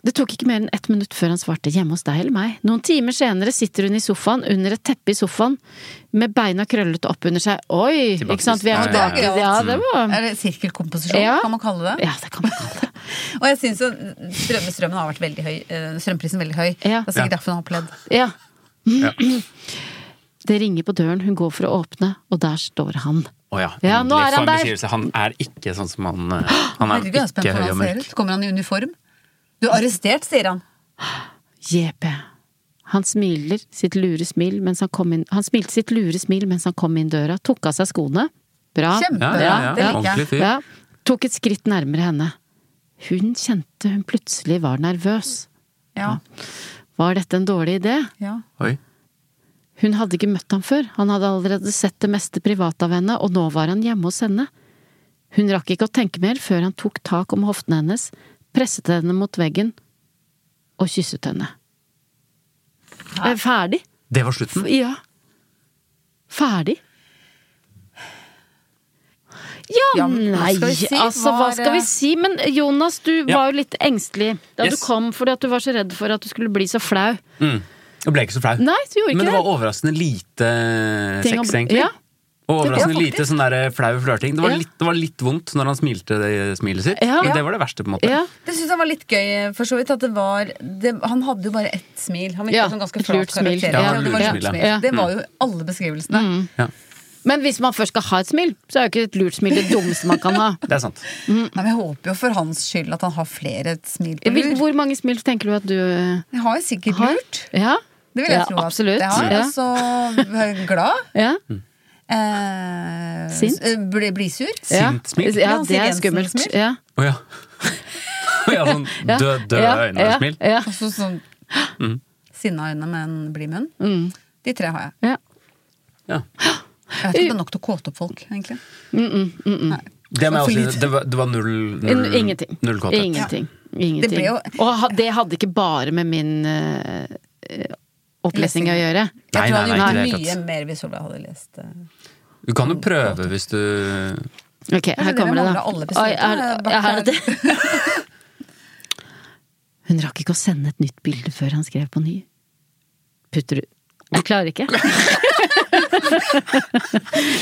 B: Det tok ikke mer enn ett minutt før han svarte hjemme hos deg eller meg. Noen timer senere sitter hun i sofaen, under et teppe i sofaen, med beina krøllete opp under seg. Oi!
E: Tilbake
B: Ikke sant, vi er Mm.
E: til- Ja,
B: tilbake. Ja,
A: ja, ja.
B: det var
A: Er det sirkelkomposisjon,
B: Ja.
A: kan man kalle det?
B: Ja, det kan man kalle det.
A: Og jeg syns jo strøm, strømmen har vært veldig høy. eh, Strømprisen veldig høy.
B: Ja.
A: Det er
E: Ja.
A: sikkert derfor hun har opplevd.
B: Ja.
E: Ja.
B: Det ringer på døren, hun går for å åpne, og der står han.
E: Å ja.
B: Ja, nå er han
E: For en
B: der.
E: beskrivelse. Han er ikke sånn som han eh, Han er
A: Herregud, jeg er spent
E: ikke
A: på
E: høy
A: hvordan
E: og
A: han ser
E: mørk.
A: ut. Kommer han i uniform? Du er arrestert, sier han.
B: JP. Han smiler sitt lure smil mens han kom inn Han smilte sitt lure smil mens han kom inn døra, tok av seg skoene. Bra.
A: Kjempebra.
E: Ja, ja, ja.
A: Det liker
E: Ordentlig
A: jeg.
E: fyr.
B: Ja, tok et skritt nærmere henne. Hun kjente hun plutselig var nervøs.
A: Ja.
B: Var dette en dårlig idé?
A: Ja.
E: Oi.
B: Hun hadde ikke møtt ham før, han hadde allerede sett det meste private av henne, og nå var han hjemme hos henne. Hun rakk ikke å tenke mer før han tok tak om hoftene hennes, presset henne mot veggen og kysset henne. Eh, Ferdig?
E: Det var slutten.
B: Ja. Ferdig? Ja,
A: Ja, men hva
B: nei,
A: skal vi si?
B: altså hva
A: Var,
B: skal vi
A: eh,
B: si? Men Jonas, du
E: Ja.
B: var jo litt engstelig da
E: Yes.
B: du kom fordi at du var så redd for at du skulle bli så flau.
E: Jeg ble ikke så flau.
B: Nei, du gjorde ikke
E: Men det
B: det.
E: var overraskende lite
B: Ting å
E: sex,
B: bli-
E: egentlig.
B: Ja.
E: Og overraskende
A: Ja,
E: lite sånn der eh, flau flørting. Det var,
B: Ja.
E: litt, det var litt vondt når han smilte det smilet sitt,
B: Ja.
E: men det var det verste, på en måte.
B: Ja.
A: Det syns jeg var litt gøy, for så vidt. At det var det, Han hadde jo bare ett smil. Han virket
B: Ja,
A: som ganske
B: et
A: flat
B: lurt smil. Mm.
A: karakter.
B: Ja,
A: Ja, det, var
E: lurt
A: et
E: smil, Mm.
A: smil.
B: ja.
A: det var jo alle beskrivelsene.
B: Men hvis man først skal ha et smil, så er jo ikke et lurt smil det dummeste man kan ha.
E: Det er sant.
A: Nei, men jeg håper jo for hans skyld at han har flere smil på
B: Hvor
A: lur.
B: hvor mange smil tenker du at du eh,
A: Jeg har jo sikkert
B: har?
A: lurt.
B: Ja,
A: Det vil jeg
B: Ja,
A: tro at
B: absolutt.
A: det har.
B: Ja.
A: Og så glad.
B: ja.
E: Mm.
A: Eh,
B: Sint.
A: eh, Bli, bli sur.
B: ja.
E: Sint smil?
B: Ja,
A: Ja,
B: det
A: Siv
B: er
A: Jensen
B: skummelt.
A: smil.
B: Ja.
E: Å ja. Å ja, sånn
B: Ja.
E: død, døde
B: Ja, ja,
E: øyne-smil.
B: Ja,
A: Og så sånn
E: Mm.
A: sinna øyne med en blid munn.
B: Mm.
A: De tre har jeg.
B: ja.
E: Ja.
A: Jeg vet ikke om det er nok til å kåte opp folk, egentlig. Nei.
E: Det, må
A: For
E: jeg også,
A: lite.
E: si, det, var, det var null, null
B: Ingenting.
E: Null kåthet.
B: Ingenting.
A: Det
B: Ingenting.
A: ble jo-
B: Og ha- det hadde ikke bare med min eh, eh, opplesning å gjøre.
E: Nei,
A: Jeg tror han
E: nei, nei,
A: gjorde
E: ikke i det
A: mye
E: hele tatt.
A: mer hvis Solveig hadde lest eh,
E: Du kan jo prøve hvis du
B: Ok, her
A: skjønner,
B: kommer det,
A: vi
B: da.
A: mangler alle episoder.
B: Oi, er,
A: Det
B: er
A: er
B: det
A: bare-
B: det? Hun rakk ikke å sende et nytt bilde før han skrev på ny. Putter du Jeg klarer ikke.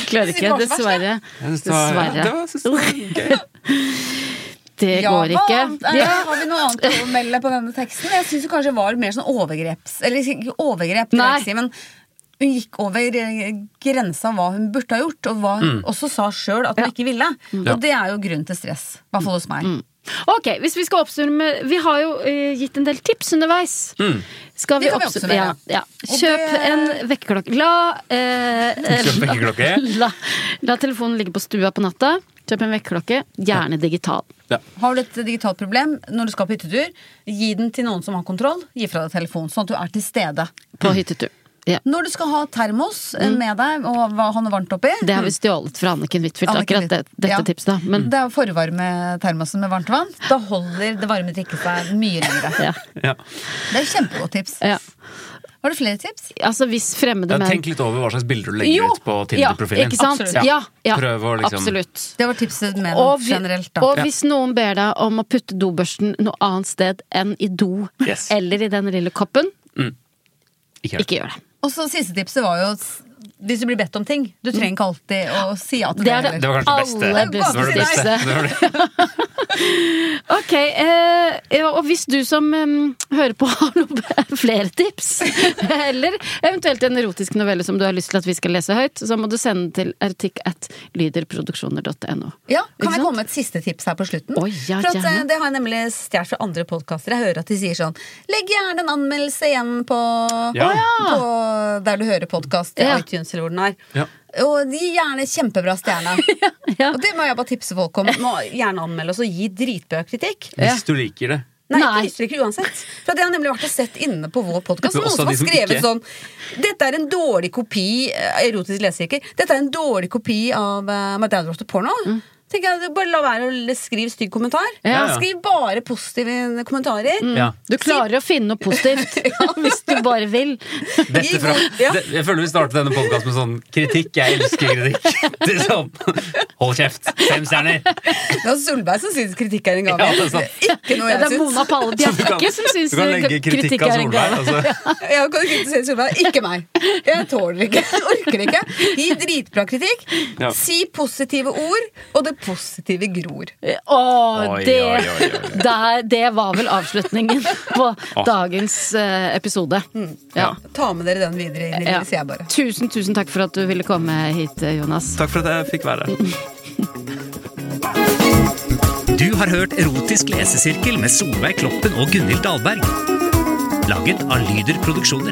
B: klarer ikke, dessverre.
E: Jeg synes det var-
B: Dessverre.
E: Det var, jeg synes det var gøy.
B: Det
A: Ja,
B: går
A: hva
B: ikke.
A: annet- eh,
B: Ja.
A: Har vi noe annet å melde på denne teksten? Jeg syns det kanskje var mer sånn overgreps... Eller ikke overgrep, det vil
B: Nei.
A: jeg ikke si, men hun gikk over eh, grensa hva hun burde ha gjort, og hva hun også sa sjøl at hun ikke ville.
B: Mm.
E: Ja.
A: Og det er jo grunn til stress. I hvert fall hos meg.
B: Ok, hvis vi skal oppsummere Vi har jo eh, gitt en del tips underveis.
E: Mm.
B: Skal vi,
A: Det kan vi
B: oppsummere?
A: oppsummere.
B: Ja, ja.
A: Og
B: Kjøp
A: det-
B: en vekkerklokke. La, eh, eh,
E: Kjøp vekkerklokke.
B: La, la telefonen ligge på stua på natta. Kjøp en vekkerklokke, gjerne digital.
A: Har du et digitalt problem når du skal på hyttetur, gi den til noen som har kontroll. Gi fra deg telefonen, sånn at du er til stede.
B: På
E: Mm.
B: hyttetur. Ja.
A: Når du skal ha termos eh,
B: Mm.
A: med deg, og hva han er varmt oppi
B: Det har vi stjålet fra Anniken Huitfeldt,
A: Anniken
B: akkurat det,
A: Huitfeldt,
B: dette
A: ja.
B: tipset. da. Men
A: Det er å forvarme termosen med varmt vann. Da holder det varme drikket seg mye lengre.
E: Mm.
B: ja.
E: Ja.
A: Det er kjempegodt tips.
B: Ja.
A: Har du flere tips?
B: Altså, hvis fremmede
E: Ja,
B: menn
E: tenk litt over hva slags bilder du legger
B: Jo,
E: ut på Tinder-profilen.
B: Ja, ikke sant?
A: Absolutt.
B: Ja, ja,
E: Prøv å liksom
B: Absolutt.
A: Det var tipset med
B: Og,
A: den
B: vi,
A: generelt. Da.
B: og hvis noen ber deg om å putte dobørsten noe annet sted enn i do
E: Yes.
B: eller i den lille koppen,
E: Ikke gjør det.
B: ikke gjør det.
A: Og så siste tipset var jo s- hvis du blir bedt om ting. Du trenger ikke alltid å si ja til
B: Det
A: det.
B: er det.
E: Det
A: heller.
E: var kanskje det
B: Alle
E: beste. Det var det
A: beste
E: beste. Det var det.
B: Ok, eh, ja, og hvis du som em, hører på har noen flere tips, eller eventuelt en erotisk novelle som du har lyst til at vi skal lese høyt, så må du sende til erotikk at lyderproduksjoner.no. Ikke
A: Ja, Kan jeg
B: sant?
A: komme med et siste tips her på slutten?
B: Oi, ja,
A: For at, eh,
B: gjerne.
A: det har jeg nemlig stjålet fra andre podkaster. Jeg hører at de sier sånn Legg gjerne en anmeldelse igjen på,
E: Ja.
A: på der du hører podkast.
B: Ja.
A: iTunes eller hvor den er.
E: Ja.
A: Og gi gjerne kjempebra stjerne.
B: ja.
A: Og det må jeg bare tipse folk om. Må gjerne anmelde oss og gi dritbra kritikk.
E: Hvis du liker det.
A: Nei,
B: Nei.
A: ikke liker uansett. For at jeg har nemlig vært og sett inne på vår podkast
E: Det er
A: noen
E: også
A: som har
E: de som
A: skrevet
E: ikke-
A: sånn Dette er en
B: Mm.
A: dårlig kopi eh, Erotisk lesesirkel. Dette er en dårlig kopi av eh, My Dad Wrote a Porno. Tenker tenker jeg, Bare la være å skrive stygg kommentar.
E: Ja, ja.
A: Skriv bare positive kommentarer.
E: Ja.
B: Du klarer å finne noe positivt hvis du bare vil.
E: Dette fra,
A: Ja.
E: det, jeg føler vi starter denne podkasten med sånn kritikk. Jeg elsker kritikk. Det er sånn, hold kjeft. Fem stjerner.
A: Det var Solberg som syns kritikk er en gave.
E: Ja, det er sant.
A: Ikke noe
B: Ja, det
A: jeg
B: er
A: syns.
B: Mona Palle Bjerke som syns
E: du kan legge kritikk av Solveig. Altså.
A: Jeg kan kritisere Solberg. Ikke meg. Jeg tåler det ikke. Jeg orker det ikke. Gi dritbra kritikk.
E: Ja.
A: Si positive ord, og det positive gror.
B: Å,
E: Oi,
B: det,
E: oi, oi, oi.
B: Der, det var vel avslutningen på dagens eh, episode.
A: Mm.
B: Ja.
A: Ta med dere den videre inn i
B: Ja.
A: livet, sier jeg bare.
B: Tusen, tusen takk for at du ville komme hit, Jonas.
E: Takk for at jeg fikk være her.
H: Du har hørt Erotisk lesesirkel med Solveig Kloppen og Gunhild Dahlberg. Laget av Lyder Produksjoner.